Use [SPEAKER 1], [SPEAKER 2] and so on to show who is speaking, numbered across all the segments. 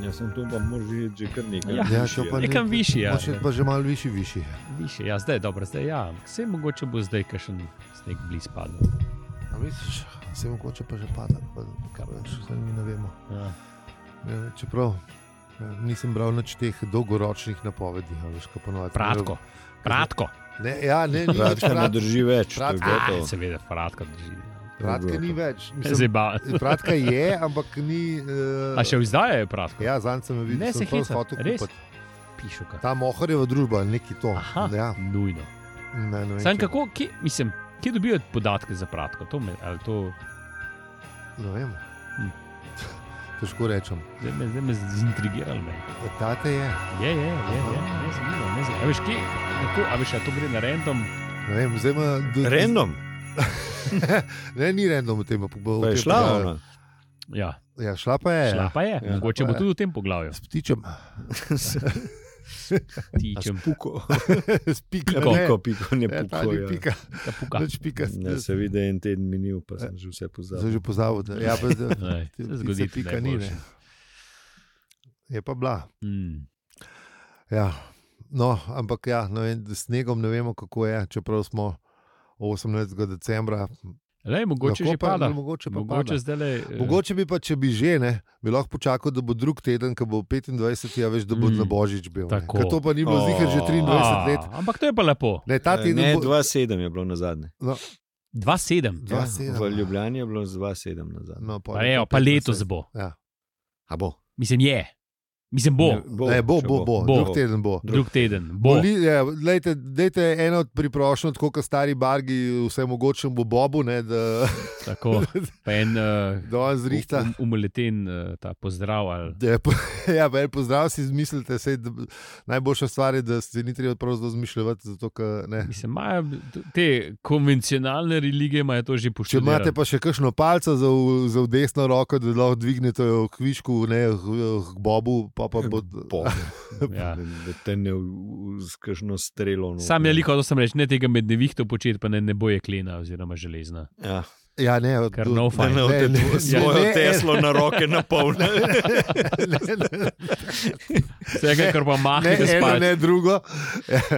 [SPEAKER 1] Jaz sem tu, pa moraš videti že kar nekaj.
[SPEAKER 2] Ja.
[SPEAKER 3] Ja, to pa ni-
[SPEAKER 2] Nekam višje, ja.
[SPEAKER 3] Moraš iti pa že malo višji, višji.
[SPEAKER 2] Više, ja, zdaj je dobro, zdaj ja. Vse mogoče bo zdaj kakšen sneg bliz padel.
[SPEAKER 3] A misliš, se mogoče pa že pada, pa kaj več, zdaj mi ne vemo.
[SPEAKER 2] Ja.
[SPEAKER 3] Ja, čeprav ja, nisem bral nič teh dolgoročnih napovedi, a veš, kako ponovadi.
[SPEAKER 2] Pratko, pratko.
[SPEAKER 3] Ne, ja, ne, ni več
[SPEAKER 1] Radka ne
[SPEAKER 3] pratko.
[SPEAKER 1] drži več,
[SPEAKER 3] Radka-
[SPEAKER 1] to je gotovo.
[SPEAKER 2] A, seveda, pratko drži.
[SPEAKER 3] Pratka ni več.
[SPEAKER 2] Zdaj
[SPEAKER 3] Mislim,
[SPEAKER 2] ba.
[SPEAKER 3] pratka je, ampak ni. Uh,
[SPEAKER 2] A še izdajajo pratko?
[SPEAKER 3] Ja, zanj sem jo videl,
[SPEAKER 2] Ne
[SPEAKER 3] sem
[SPEAKER 2] se
[SPEAKER 3] prav
[SPEAKER 2] heca,
[SPEAKER 3] hotel
[SPEAKER 2] res?
[SPEAKER 3] kupiti.
[SPEAKER 2] Pišu kaj.
[SPEAKER 3] Ta moharjeva družba, neki to.
[SPEAKER 2] Aha,
[SPEAKER 3] Ja,
[SPEAKER 2] nujno.
[SPEAKER 3] ne, ne vem,
[SPEAKER 2] Sam
[SPEAKER 3] če-
[SPEAKER 2] kako, kje, mislim, kje dobijo podatke za pratko? To me, ali to,
[SPEAKER 3] Ne vem.
[SPEAKER 2] Hm.
[SPEAKER 3] Težko rečem.
[SPEAKER 2] zdaj me, zdaj me zintrigiralo. me.
[SPEAKER 3] Tate je,
[SPEAKER 2] Je, je, je, je, ne zanima, ne zanima. A veš, kje, na to, a veš, a to gre na random,
[SPEAKER 3] ne vem, zdaj ima. do-
[SPEAKER 1] Random,
[SPEAKER 3] Ne, ni random v tem, ampak bo.
[SPEAKER 1] pa je šla ona.
[SPEAKER 2] ja,
[SPEAKER 3] Ja, šla pa je.
[SPEAKER 2] šla pa je,
[SPEAKER 1] ja.
[SPEAKER 2] mogoče bo
[SPEAKER 3] Pa je.
[SPEAKER 2] tudi v tem poglavju.
[SPEAKER 3] S ptičem,
[SPEAKER 2] Tičem,
[SPEAKER 1] Puko.
[SPEAKER 3] s
[SPEAKER 1] Ja,
[SPEAKER 3] pikom.
[SPEAKER 1] piko, piko, ne
[SPEAKER 3] Ja, ta
[SPEAKER 1] puko.
[SPEAKER 3] ni
[SPEAKER 1] Ja.
[SPEAKER 3] pika,
[SPEAKER 2] da puka.
[SPEAKER 3] več pika.
[SPEAKER 1] Ne, se vidi, da je en teden minil, pa sem že vse
[SPEAKER 3] Zdaj
[SPEAKER 1] pozabil.
[SPEAKER 3] že pozabil. da- Ja, pa, da,
[SPEAKER 2] Ej,
[SPEAKER 3] ti
[SPEAKER 2] se
[SPEAKER 3] ptice
[SPEAKER 2] zgodi tudi
[SPEAKER 3] pika ni. Ne.
[SPEAKER 2] najboljše.
[SPEAKER 3] Je pa bila.
[SPEAKER 1] Hmm.
[SPEAKER 2] Mm.
[SPEAKER 3] Ja. No, ampak ja, ne vem, s snegom ne vemo, kako je, čeprav smo 18. decembra.
[SPEAKER 2] Lej, mogoče
[SPEAKER 3] lahko
[SPEAKER 2] že pada.
[SPEAKER 3] Mogoče, pa pada.
[SPEAKER 2] Mogoče zdaj le.
[SPEAKER 3] Mogoče bi pa, če bi že, ne, bi lahko počakal, da bo drug teden, ko bo 25, ja, veš, da bo
[SPEAKER 2] Mm,
[SPEAKER 3] mm, na božič bil. ne.
[SPEAKER 2] tako.
[SPEAKER 3] Ker To pa ni bilo
[SPEAKER 1] O. E,
[SPEAKER 3] zihar že 23 let.
[SPEAKER 2] Ampak to je pa lepo.
[SPEAKER 3] Ne, ta teden
[SPEAKER 1] Ne,
[SPEAKER 3] bo
[SPEAKER 1] 2-7 je bilo na zadnje.
[SPEAKER 2] 2-7.
[SPEAKER 1] Ja,
[SPEAKER 3] 27.
[SPEAKER 1] v Ljubljani je bilo 2-7 na zadnje.
[SPEAKER 3] No,
[SPEAKER 2] Pa, evo, pa letos bo.
[SPEAKER 1] A bo?
[SPEAKER 2] Mislim, je. Mislim, bo.
[SPEAKER 1] Ne,
[SPEAKER 3] Bo, ne, E, bo,
[SPEAKER 1] še
[SPEAKER 3] bo, bo,
[SPEAKER 2] Bo.
[SPEAKER 3] bo, drug teden bo.
[SPEAKER 2] Drug teden. Bo.
[SPEAKER 3] Boli, je, lejte, dejte eno od priprošenj, tako kot stari bargi, vse mogoče bo Bobu, ne, da,
[SPEAKER 2] Tako. Pa en uh,
[SPEAKER 3] da on zrihta.
[SPEAKER 2] um- umleten uh, ta pozdrav. Ali,
[SPEAKER 3] Da je po- Ja, pa en pozdrav si izmislite, sej, da, najboljša stvar je, da se ni treba prav zelo zmišljati. Zato, ker, ne.
[SPEAKER 2] mislim, imajo, te konvencionalne religije imajo to že
[SPEAKER 3] Če
[SPEAKER 2] poštevilno.
[SPEAKER 3] imate pa še kakšno palco za, v- za v desno roko, da lahko dvignete v kvišku, ne v- v- k Bobu, pa, pa bo.
[SPEAKER 1] Po. Ja.
[SPEAKER 2] Ja.
[SPEAKER 1] Da, da te ne v- v- s kakšno strelo. no.
[SPEAKER 2] Sam je liko, to sem rekel, ne tega med nevihtov početi, pa ne, ne bo jeklena oziroma železna.
[SPEAKER 1] Ja.
[SPEAKER 3] Ja, ne, od-
[SPEAKER 2] Ker
[SPEAKER 1] Da
[SPEAKER 2] no fajn.
[SPEAKER 1] ne
[SPEAKER 3] Ne, ne,
[SPEAKER 1] odete
[SPEAKER 3] ne,
[SPEAKER 1] svojo
[SPEAKER 3] ne.
[SPEAKER 1] teslo na roke napolne.
[SPEAKER 3] ne, ne,
[SPEAKER 2] Vsega, kar pa
[SPEAKER 3] ne,
[SPEAKER 2] mahnete
[SPEAKER 3] eno,
[SPEAKER 2] spati.
[SPEAKER 3] ne drugo.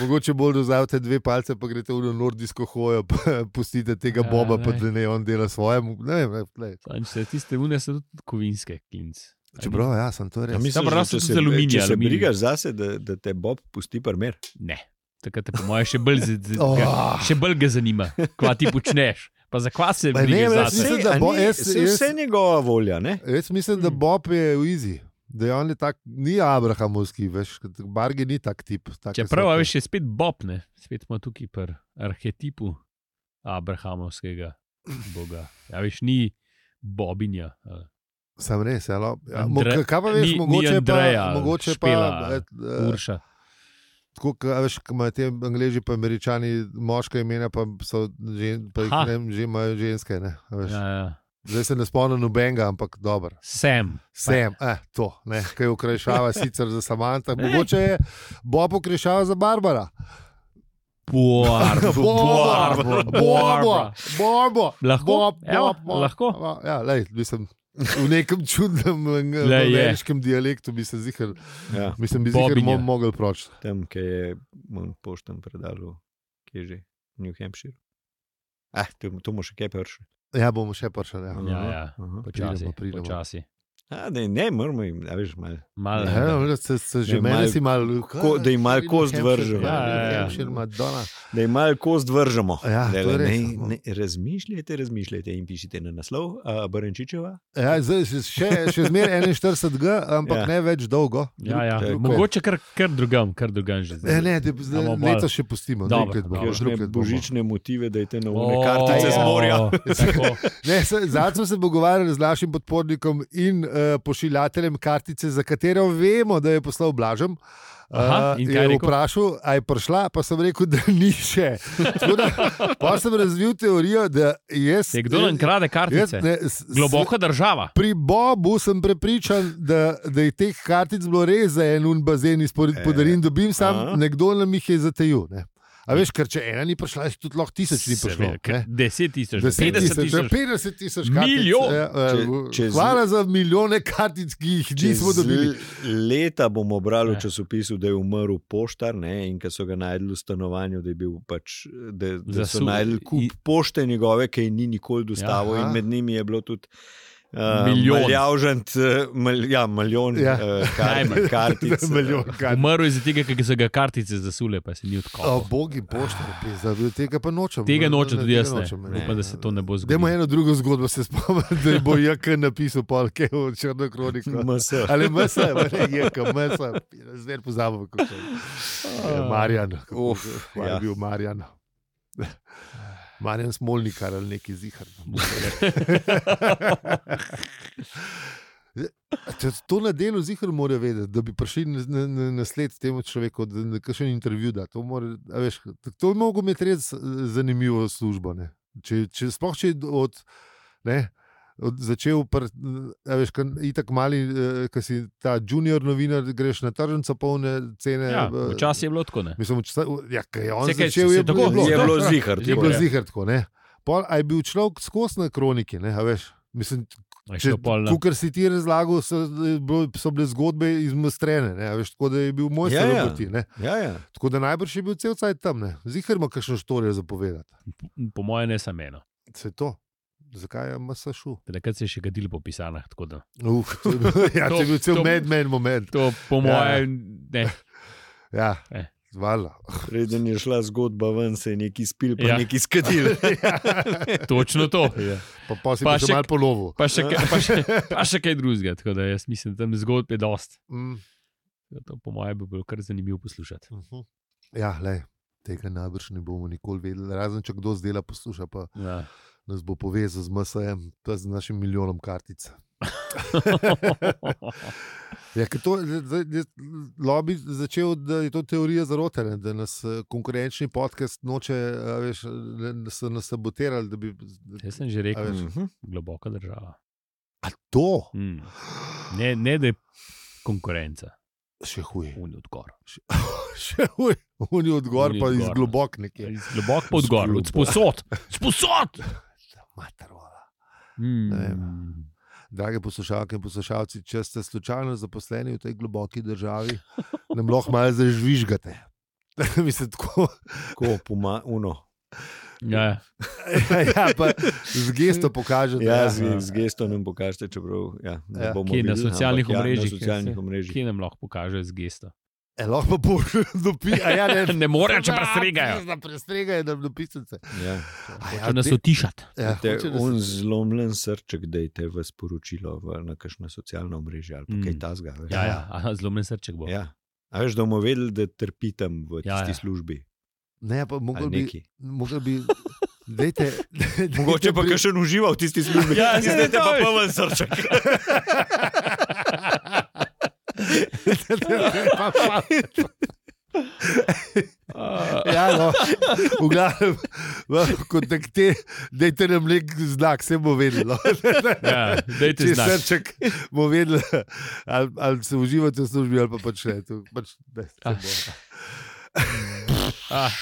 [SPEAKER 3] Mogoče bolj dozavete dve palce, pa greste v nordijsko hojo, pa pustite tega
[SPEAKER 2] Ja,
[SPEAKER 3] Boba, pa
[SPEAKER 2] ne.
[SPEAKER 3] da ne on dela svoje. Ne, vem, ne, ne.
[SPEAKER 2] Sam, če se tiste vune so tudi kovinske klince.
[SPEAKER 3] Čeprav, ja, sem to
[SPEAKER 1] Ja,
[SPEAKER 3] res.
[SPEAKER 1] misliš,
[SPEAKER 2] Dobro,
[SPEAKER 1] da
[SPEAKER 2] razen
[SPEAKER 1] če
[SPEAKER 2] tudi
[SPEAKER 1] se-
[SPEAKER 2] z aluminija,
[SPEAKER 1] Če se
[SPEAKER 2] aluminij.
[SPEAKER 1] brigaš zase, da, da te Bob pusti primer.
[SPEAKER 2] Ne, takrat te po mojem še bolj, z, z,
[SPEAKER 3] Oh.
[SPEAKER 2] ga, še bolj ga zanima, kva ti počneš. Pa za kva se
[SPEAKER 3] Ma ne,
[SPEAKER 2] brigaš
[SPEAKER 3] jaz
[SPEAKER 2] zase?
[SPEAKER 3] mislim, da bo- jaz-
[SPEAKER 1] se
[SPEAKER 3] jaz-
[SPEAKER 1] vse njegova volja, ne?
[SPEAKER 3] Jaz mislim, da
[SPEAKER 2] Mm.
[SPEAKER 3] Bob je v Izi, da je on je tak, ni abrahamovski, veš, kot Bargi ni tak tip. tak, ki
[SPEAKER 2] Čeprav
[SPEAKER 3] so-
[SPEAKER 2] a veš, je spet Bob, ne? spet smo tukaj pri arhetipu abrahamovskega boga. Ja, veš, ni Bobinja. ali-
[SPEAKER 3] Sam res, ja, no. ja, mo-
[SPEAKER 2] Andre-
[SPEAKER 3] kaj pa veš,
[SPEAKER 2] ni- ni
[SPEAKER 3] mogoče
[SPEAKER 2] Andreja,
[SPEAKER 3] pa, mogoče
[SPEAKER 2] Špela,
[SPEAKER 3] pa et, eh,
[SPEAKER 2] Urša.
[SPEAKER 3] tako, ka, veš, ko imajo ti Angliji, pa Američani, moška imena, pa, so, žen, pa jih,
[SPEAKER 2] Ha.
[SPEAKER 3] ne, vem, že imajo ženske. Ne, a veš.
[SPEAKER 2] Ja, ja.
[SPEAKER 3] Zdaj se ne spomnim nobenega, ampak dobro.
[SPEAKER 2] Sem.
[SPEAKER 3] Sem, eh, to, ne, kaj ukrajšava sicer za Samanta,
[SPEAKER 2] Ne.
[SPEAKER 3] mogoče je Bob ukrajšava za Barbara.
[SPEAKER 2] Bor, bor,
[SPEAKER 3] Bobo,
[SPEAKER 2] bor.
[SPEAKER 3] Bobo,
[SPEAKER 2] Lahko?
[SPEAKER 3] Bob,
[SPEAKER 2] Evo,
[SPEAKER 3] Bob, Bob.
[SPEAKER 2] lahko?
[SPEAKER 3] Ja, lej, mislim, v nekem čudnem eh,
[SPEAKER 2] Lej, je.
[SPEAKER 3] ameriškem dialektu bi se zihar,
[SPEAKER 1] Ja,
[SPEAKER 3] mislim, bi
[SPEAKER 2] Bobinja.
[SPEAKER 3] zihar mo mogel proč.
[SPEAKER 1] tam, ki je mon poštem predal, ki je že v New Hampshire. Ah, tu, tu mu še kaj prši.
[SPEAKER 3] Ja, bomo še prišli. Ja.
[SPEAKER 2] Ja, ja. Počasi,
[SPEAKER 3] Pridemo, pridemo.
[SPEAKER 2] počasi.
[SPEAKER 1] A, ne, ne, moramo jim, a veš, malo.
[SPEAKER 2] Malo.
[SPEAKER 3] Ja, no, se, se že
[SPEAKER 1] je
[SPEAKER 3] meni
[SPEAKER 1] malo-
[SPEAKER 3] si malo,
[SPEAKER 1] ko- da jim malo kost vržejo.
[SPEAKER 3] Ja,
[SPEAKER 2] Ja, ja, ja.
[SPEAKER 3] ja, ja.
[SPEAKER 1] da jim malo kost vržemo.
[SPEAKER 3] Ja, to je
[SPEAKER 1] Dajle,
[SPEAKER 3] res, no.
[SPEAKER 1] ne, ne, razmišljajte, razmišljajte in pišite na naslov, a Barenčičeva.
[SPEAKER 3] Ja, zdaj se še, še zmeraj 41G,
[SPEAKER 1] Ja.
[SPEAKER 3] ampak ja. ne več dolgo.
[SPEAKER 2] Ja, ja.
[SPEAKER 1] Drugo.
[SPEAKER 2] Mogoče kar, kar drugam, kar drugam že
[SPEAKER 3] Ne,
[SPEAKER 2] zdaj.
[SPEAKER 3] ne, da bo zdaj
[SPEAKER 2] Bomo bolj-
[SPEAKER 3] leto še pustimo.
[SPEAKER 2] Ja. Dobro,
[SPEAKER 3] Dobro, let
[SPEAKER 1] Kjer
[SPEAKER 2] dobro.
[SPEAKER 3] bomo, No, drug
[SPEAKER 1] že
[SPEAKER 3] let bomo.
[SPEAKER 1] božične motive, da je te na
[SPEAKER 2] O,
[SPEAKER 1] umne kartice z morja.
[SPEAKER 2] tako.
[SPEAKER 3] Ne, se- Zadnjič smo se pogovarjali z našim podpornikom in uh, pošiljateljem kartice, za katero vemo, da jo je poslal Blažem. Eh,
[SPEAKER 2] Aha, in kaj je
[SPEAKER 3] je
[SPEAKER 2] rekel?
[SPEAKER 3] vprašal, ali je prišla, pa sem rekel, da ni še. Tako Da, pa sem razvil teorijo, da jaz.
[SPEAKER 2] Nekdo nam krade
[SPEAKER 3] jaz
[SPEAKER 2] kartice.
[SPEAKER 3] ne, s- s-
[SPEAKER 2] Globoka država.
[SPEAKER 3] Pri Bobu sem prepričan, da, da je teh kartic bilo res za en un bazen izpored
[SPEAKER 1] E,
[SPEAKER 3] podarin, dobim sam,
[SPEAKER 1] a?
[SPEAKER 3] nekdo nam jih je zatejil. Ne. A veš, ker če ena ni prišla, jih tudi lahko tisoč ni prišlo.
[SPEAKER 2] Seveda, ker
[SPEAKER 3] ne.
[SPEAKER 2] 10 tisoč,
[SPEAKER 3] 10
[SPEAKER 2] 50
[SPEAKER 3] tisoč,
[SPEAKER 2] tisoč.
[SPEAKER 3] 50 tisoč,
[SPEAKER 2] Milijon!
[SPEAKER 3] Ja, eh,
[SPEAKER 1] Če- če z-
[SPEAKER 3] hvala za milijone kartic, ki jih nismo dobili.
[SPEAKER 1] Leta bomo brali
[SPEAKER 2] Ja.
[SPEAKER 1] v časopisu, da je umrl poštar ne, in ko so ga najdli v stanovanju, da, je bil pač, da, da so
[SPEAKER 2] Zasu-
[SPEAKER 1] najdli kup
[SPEAKER 2] i-
[SPEAKER 1] in... pošte njegove, ki je ni nikoli dostavil ja,
[SPEAKER 3] Ja.
[SPEAKER 1] in med njimi je bilo tudi. Uh,
[SPEAKER 2] Milijon.
[SPEAKER 1] Maljavžant, uh, mal, ja, milijon
[SPEAKER 3] Ja.
[SPEAKER 1] ja. uh, kar,
[SPEAKER 2] Najmanj.
[SPEAKER 1] kartic. eh,
[SPEAKER 3] Milijon kartic. eh,
[SPEAKER 2] Umrl je zaradi tega, ker so ga kartice zasule, pa se ni
[SPEAKER 3] O,
[SPEAKER 2] odkopal.
[SPEAKER 3] bogi poštar, pizda, tega pa nočem.
[SPEAKER 2] Tega nočem,
[SPEAKER 3] Ne,
[SPEAKER 2] tudi
[SPEAKER 3] tega
[SPEAKER 2] jaz ne.
[SPEAKER 3] nočem,
[SPEAKER 2] Upam, da se to ne bo
[SPEAKER 3] Dajmo
[SPEAKER 2] zgodilo.
[SPEAKER 3] eno drugo zgodbo se spomniti, da je bo Jaka napisal, pa je v črno kroniko.
[SPEAKER 1] MS.
[SPEAKER 3] Ali MS, ali Jaka, MS, zdaj pozabim, kako je. Ja, Marjan, kako
[SPEAKER 1] Uf,
[SPEAKER 3] kva je
[SPEAKER 1] ja.
[SPEAKER 3] bil Marjan. Marjan Smolnikar ali neki zihar. To, to na delu zihar mora vedeti, da bi prišli na, na, na, na sled temu človeku, da na kakšen intervju da. To, mora, a veš, tako- to je mogo imeti res eh, zanimivo službo. Ne? Če, če, sploh če je od, ne, od začel, pr, a veš, tako mali, ki si ta junior novinar, greš na tržnico polne cene.
[SPEAKER 2] Ja,
[SPEAKER 3] eh,
[SPEAKER 2] včasih je bilo tako. Ne?
[SPEAKER 3] Mislim, če, ta- ja, kaj je on
[SPEAKER 2] Saj,
[SPEAKER 3] Sekaj,
[SPEAKER 2] kaj,
[SPEAKER 3] začel,
[SPEAKER 2] se
[SPEAKER 3] je
[SPEAKER 2] tako
[SPEAKER 3] bilo
[SPEAKER 2] bilo.
[SPEAKER 1] Je bilo
[SPEAKER 3] tako,
[SPEAKER 1] zihar.
[SPEAKER 2] Je
[SPEAKER 3] Je bilo
[SPEAKER 2] ja.
[SPEAKER 3] zihar tako, ne. Pol, a je bil človek skozi na kroniki, ne, a veš. Mislim,
[SPEAKER 2] A je
[SPEAKER 3] če,
[SPEAKER 2] šel pol na-
[SPEAKER 3] kar si ti razlagal, so, je bilo- so bile zgodbe izmostrene, ne, a veš, tako da je bil moj
[SPEAKER 1] Ja,
[SPEAKER 3] ja,
[SPEAKER 1] ja.
[SPEAKER 3] roboti. Ja.
[SPEAKER 1] Ja, ja.
[SPEAKER 3] Tako da najbrž je bil cel cel tam, ne. Zihar ima kakšno štorijo zapovedati.
[SPEAKER 2] Po mojem, ne samo eno.
[SPEAKER 3] Se to. Zakaj je masašu?
[SPEAKER 2] Takrat se je še kadil po pisanah. tako da-
[SPEAKER 3] Uf, to je bil, ja, to je bil cel
[SPEAKER 2] To- to-
[SPEAKER 3] medmen moment.
[SPEAKER 2] To, po
[SPEAKER 3] Ja, ja.
[SPEAKER 2] mojem, ne.
[SPEAKER 3] Ja,
[SPEAKER 2] Eh.
[SPEAKER 3] zvala.
[SPEAKER 1] Preden je šla zgodba ven, se je neki spil, pa
[SPEAKER 2] Ja.
[SPEAKER 1] ja. neki skadil.
[SPEAKER 2] Točno to.
[SPEAKER 3] Pa, pa si
[SPEAKER 2] Pa
[SPEAKER 3] pa še
[SPEAKER 2] še-
[SPEAKER 3] malo polovil.
[SPEAKER 2] Pa še, kaj- pa, še, pa še kaj drugega. Tako da jaz mislim, da tam zgodb je dost.
[SPEAKER 3] Mm.
[SPEAKER 2] To, po mojem, bi bilo kar zanimivo poslušati.
[SPEAKER 3] Uhum. Ja, le, tega najbrž ne bomo nikoli vedeli. Razen če kdo zdela posluša, pa
[SPEAKER 2] Ja.
[SPEAKER 3] nas bo povezal z MSM, pa z našim milijonom kartic. Ja, ker to, zdaj- zdaj lobby začel, da je to teorija zarote, ne, da nas eh, konkurenčni podcast noče, a veš, ne, da so nas sabotirali. Da bi,
[SPEAKER 2] Jaz sem že rekel,
[SPEAKER 1] Mhm.
[SPEAKER 2] globoka država.
[SPEAKER 3] a to
[SPEAKER 2] Mm. Ne, ne, da je konkurenca,
[SPEAKER 3] še huje.
[SPEAKER 2] unijo odgor.
[SPEAKER 3] Še huje. Oni odgovor
[SPEAKER 2] Oni
[SPEAKER 3] pa
[SPEAKER 2] od
[SPEAKER 3] iz
[SPEAKER 2] gor, ne.
[SPEAKER 3] globok nekje.
[SPEAKER 2] Iz Globok pod gor,
[SPEAKER 3] Globok.
[SPEAKER 2] od sposod. Sposod!
[SPEAKER 3] Matarola.
[SPEAKER 2] Mm.
[SPEAKER 3] Drage poslušalke in poslušalci, če ste slučajno zaposleni v tej globoki državi, nam lahko malo zažvižgate. Mislim, tako,
[SPEAKER 1] Tako, poma, uno.
[SPEAKER 2] Ja, ja.
[SPEAKER 3] ja, pa z gesto pokažete.
[SPEAKER 1] Ja,
[SPEAKER 3] ja.
[SPEAKER 1] z, z gestom nam pokažete, čeprav ja, ne
[SPEAKER 3] Ja.
[SPEAKER 1] bomo
[SPEAKER 2] Kje, na
[SPEAKER 1] videli,
[SPEAKER 2] socialnih
[SPEAKER 1] ampak Ja,
[SPEAKER 2] omrežjih,
[SPEAKER 1] na socialnih
[SPEAKER 2] se-
[SPEAKER 1] omrežjih.
[SPEAKER 2] Kje nam lahko pokaže z gesto?
[SPEAKER 3] E, lahko pa dopišete. Ja, ne,
[SPEAKER 2] Ne morejo, če prestregajo.
[SPEAKER 3] Da prestregajo, da dopišete.
[SPEAKER 1] Ja.
[SPEAKER 2] Če nas otišati.
[SPEAKER 3] ja,
[SPEAKER 1] Te,
[SPEAKER 3] hoče, da
[SPEAKER 1] on
[SPEAKER 3] se-
[SPEAKER 1] zlomljen srček, da je te v sporočilo v, na kakšno socialno omrežje ali
[SPEAKER 2] Mm.
[SPEAKER 1] mm. kaj tasga. veš.
[SPEAKER 2] Ja, ja. aha, Zlomljen srček bo.
[SPEAKER 1] ja. A veš, da bomo vedeli, da trpi tam v
[SPEAKER 2] Ja,
[SPEAKER 1] tisti
[SPEAKER 2] ja.
[SPEAKER 1] ja. službi.
[SPEAKER 3] Ne, pa mogoče
[SPEAKER 1] ali
[SPEAKER 3] bi.
[SPEAKER 1] neki.
[SPEAKER 3] Mogoče bi. Dejte, dejte
[SPEAKER 1] Mogoče pa
[SPEAKER 3] pri-
[SPEAKER 1] še uživa v tisti službi.
[SPEAKER 2] Ja, saj
[SPEAKER 1] zdaj te pa
[SPEAKER 2] to je.
[SPEAKER 1] poln srček.
[SPEAKER 3] Pa, pa, Ja, no, v glavnem, kontakte, dajte nam nek znak, se bo vedelo.
[SPEAKER 2] Ja, dajte
[SPEAKER 3] Če
[SPEAKER 2] znak.
[SPEAKER 3] srček bo vedel, ali, ali se uživate v službi, ali pa pač ne. To, pač ne se
[SPEAKER 2] Ah.
[SPEAKER 3] bo.
[SPEAKER 2] Ah,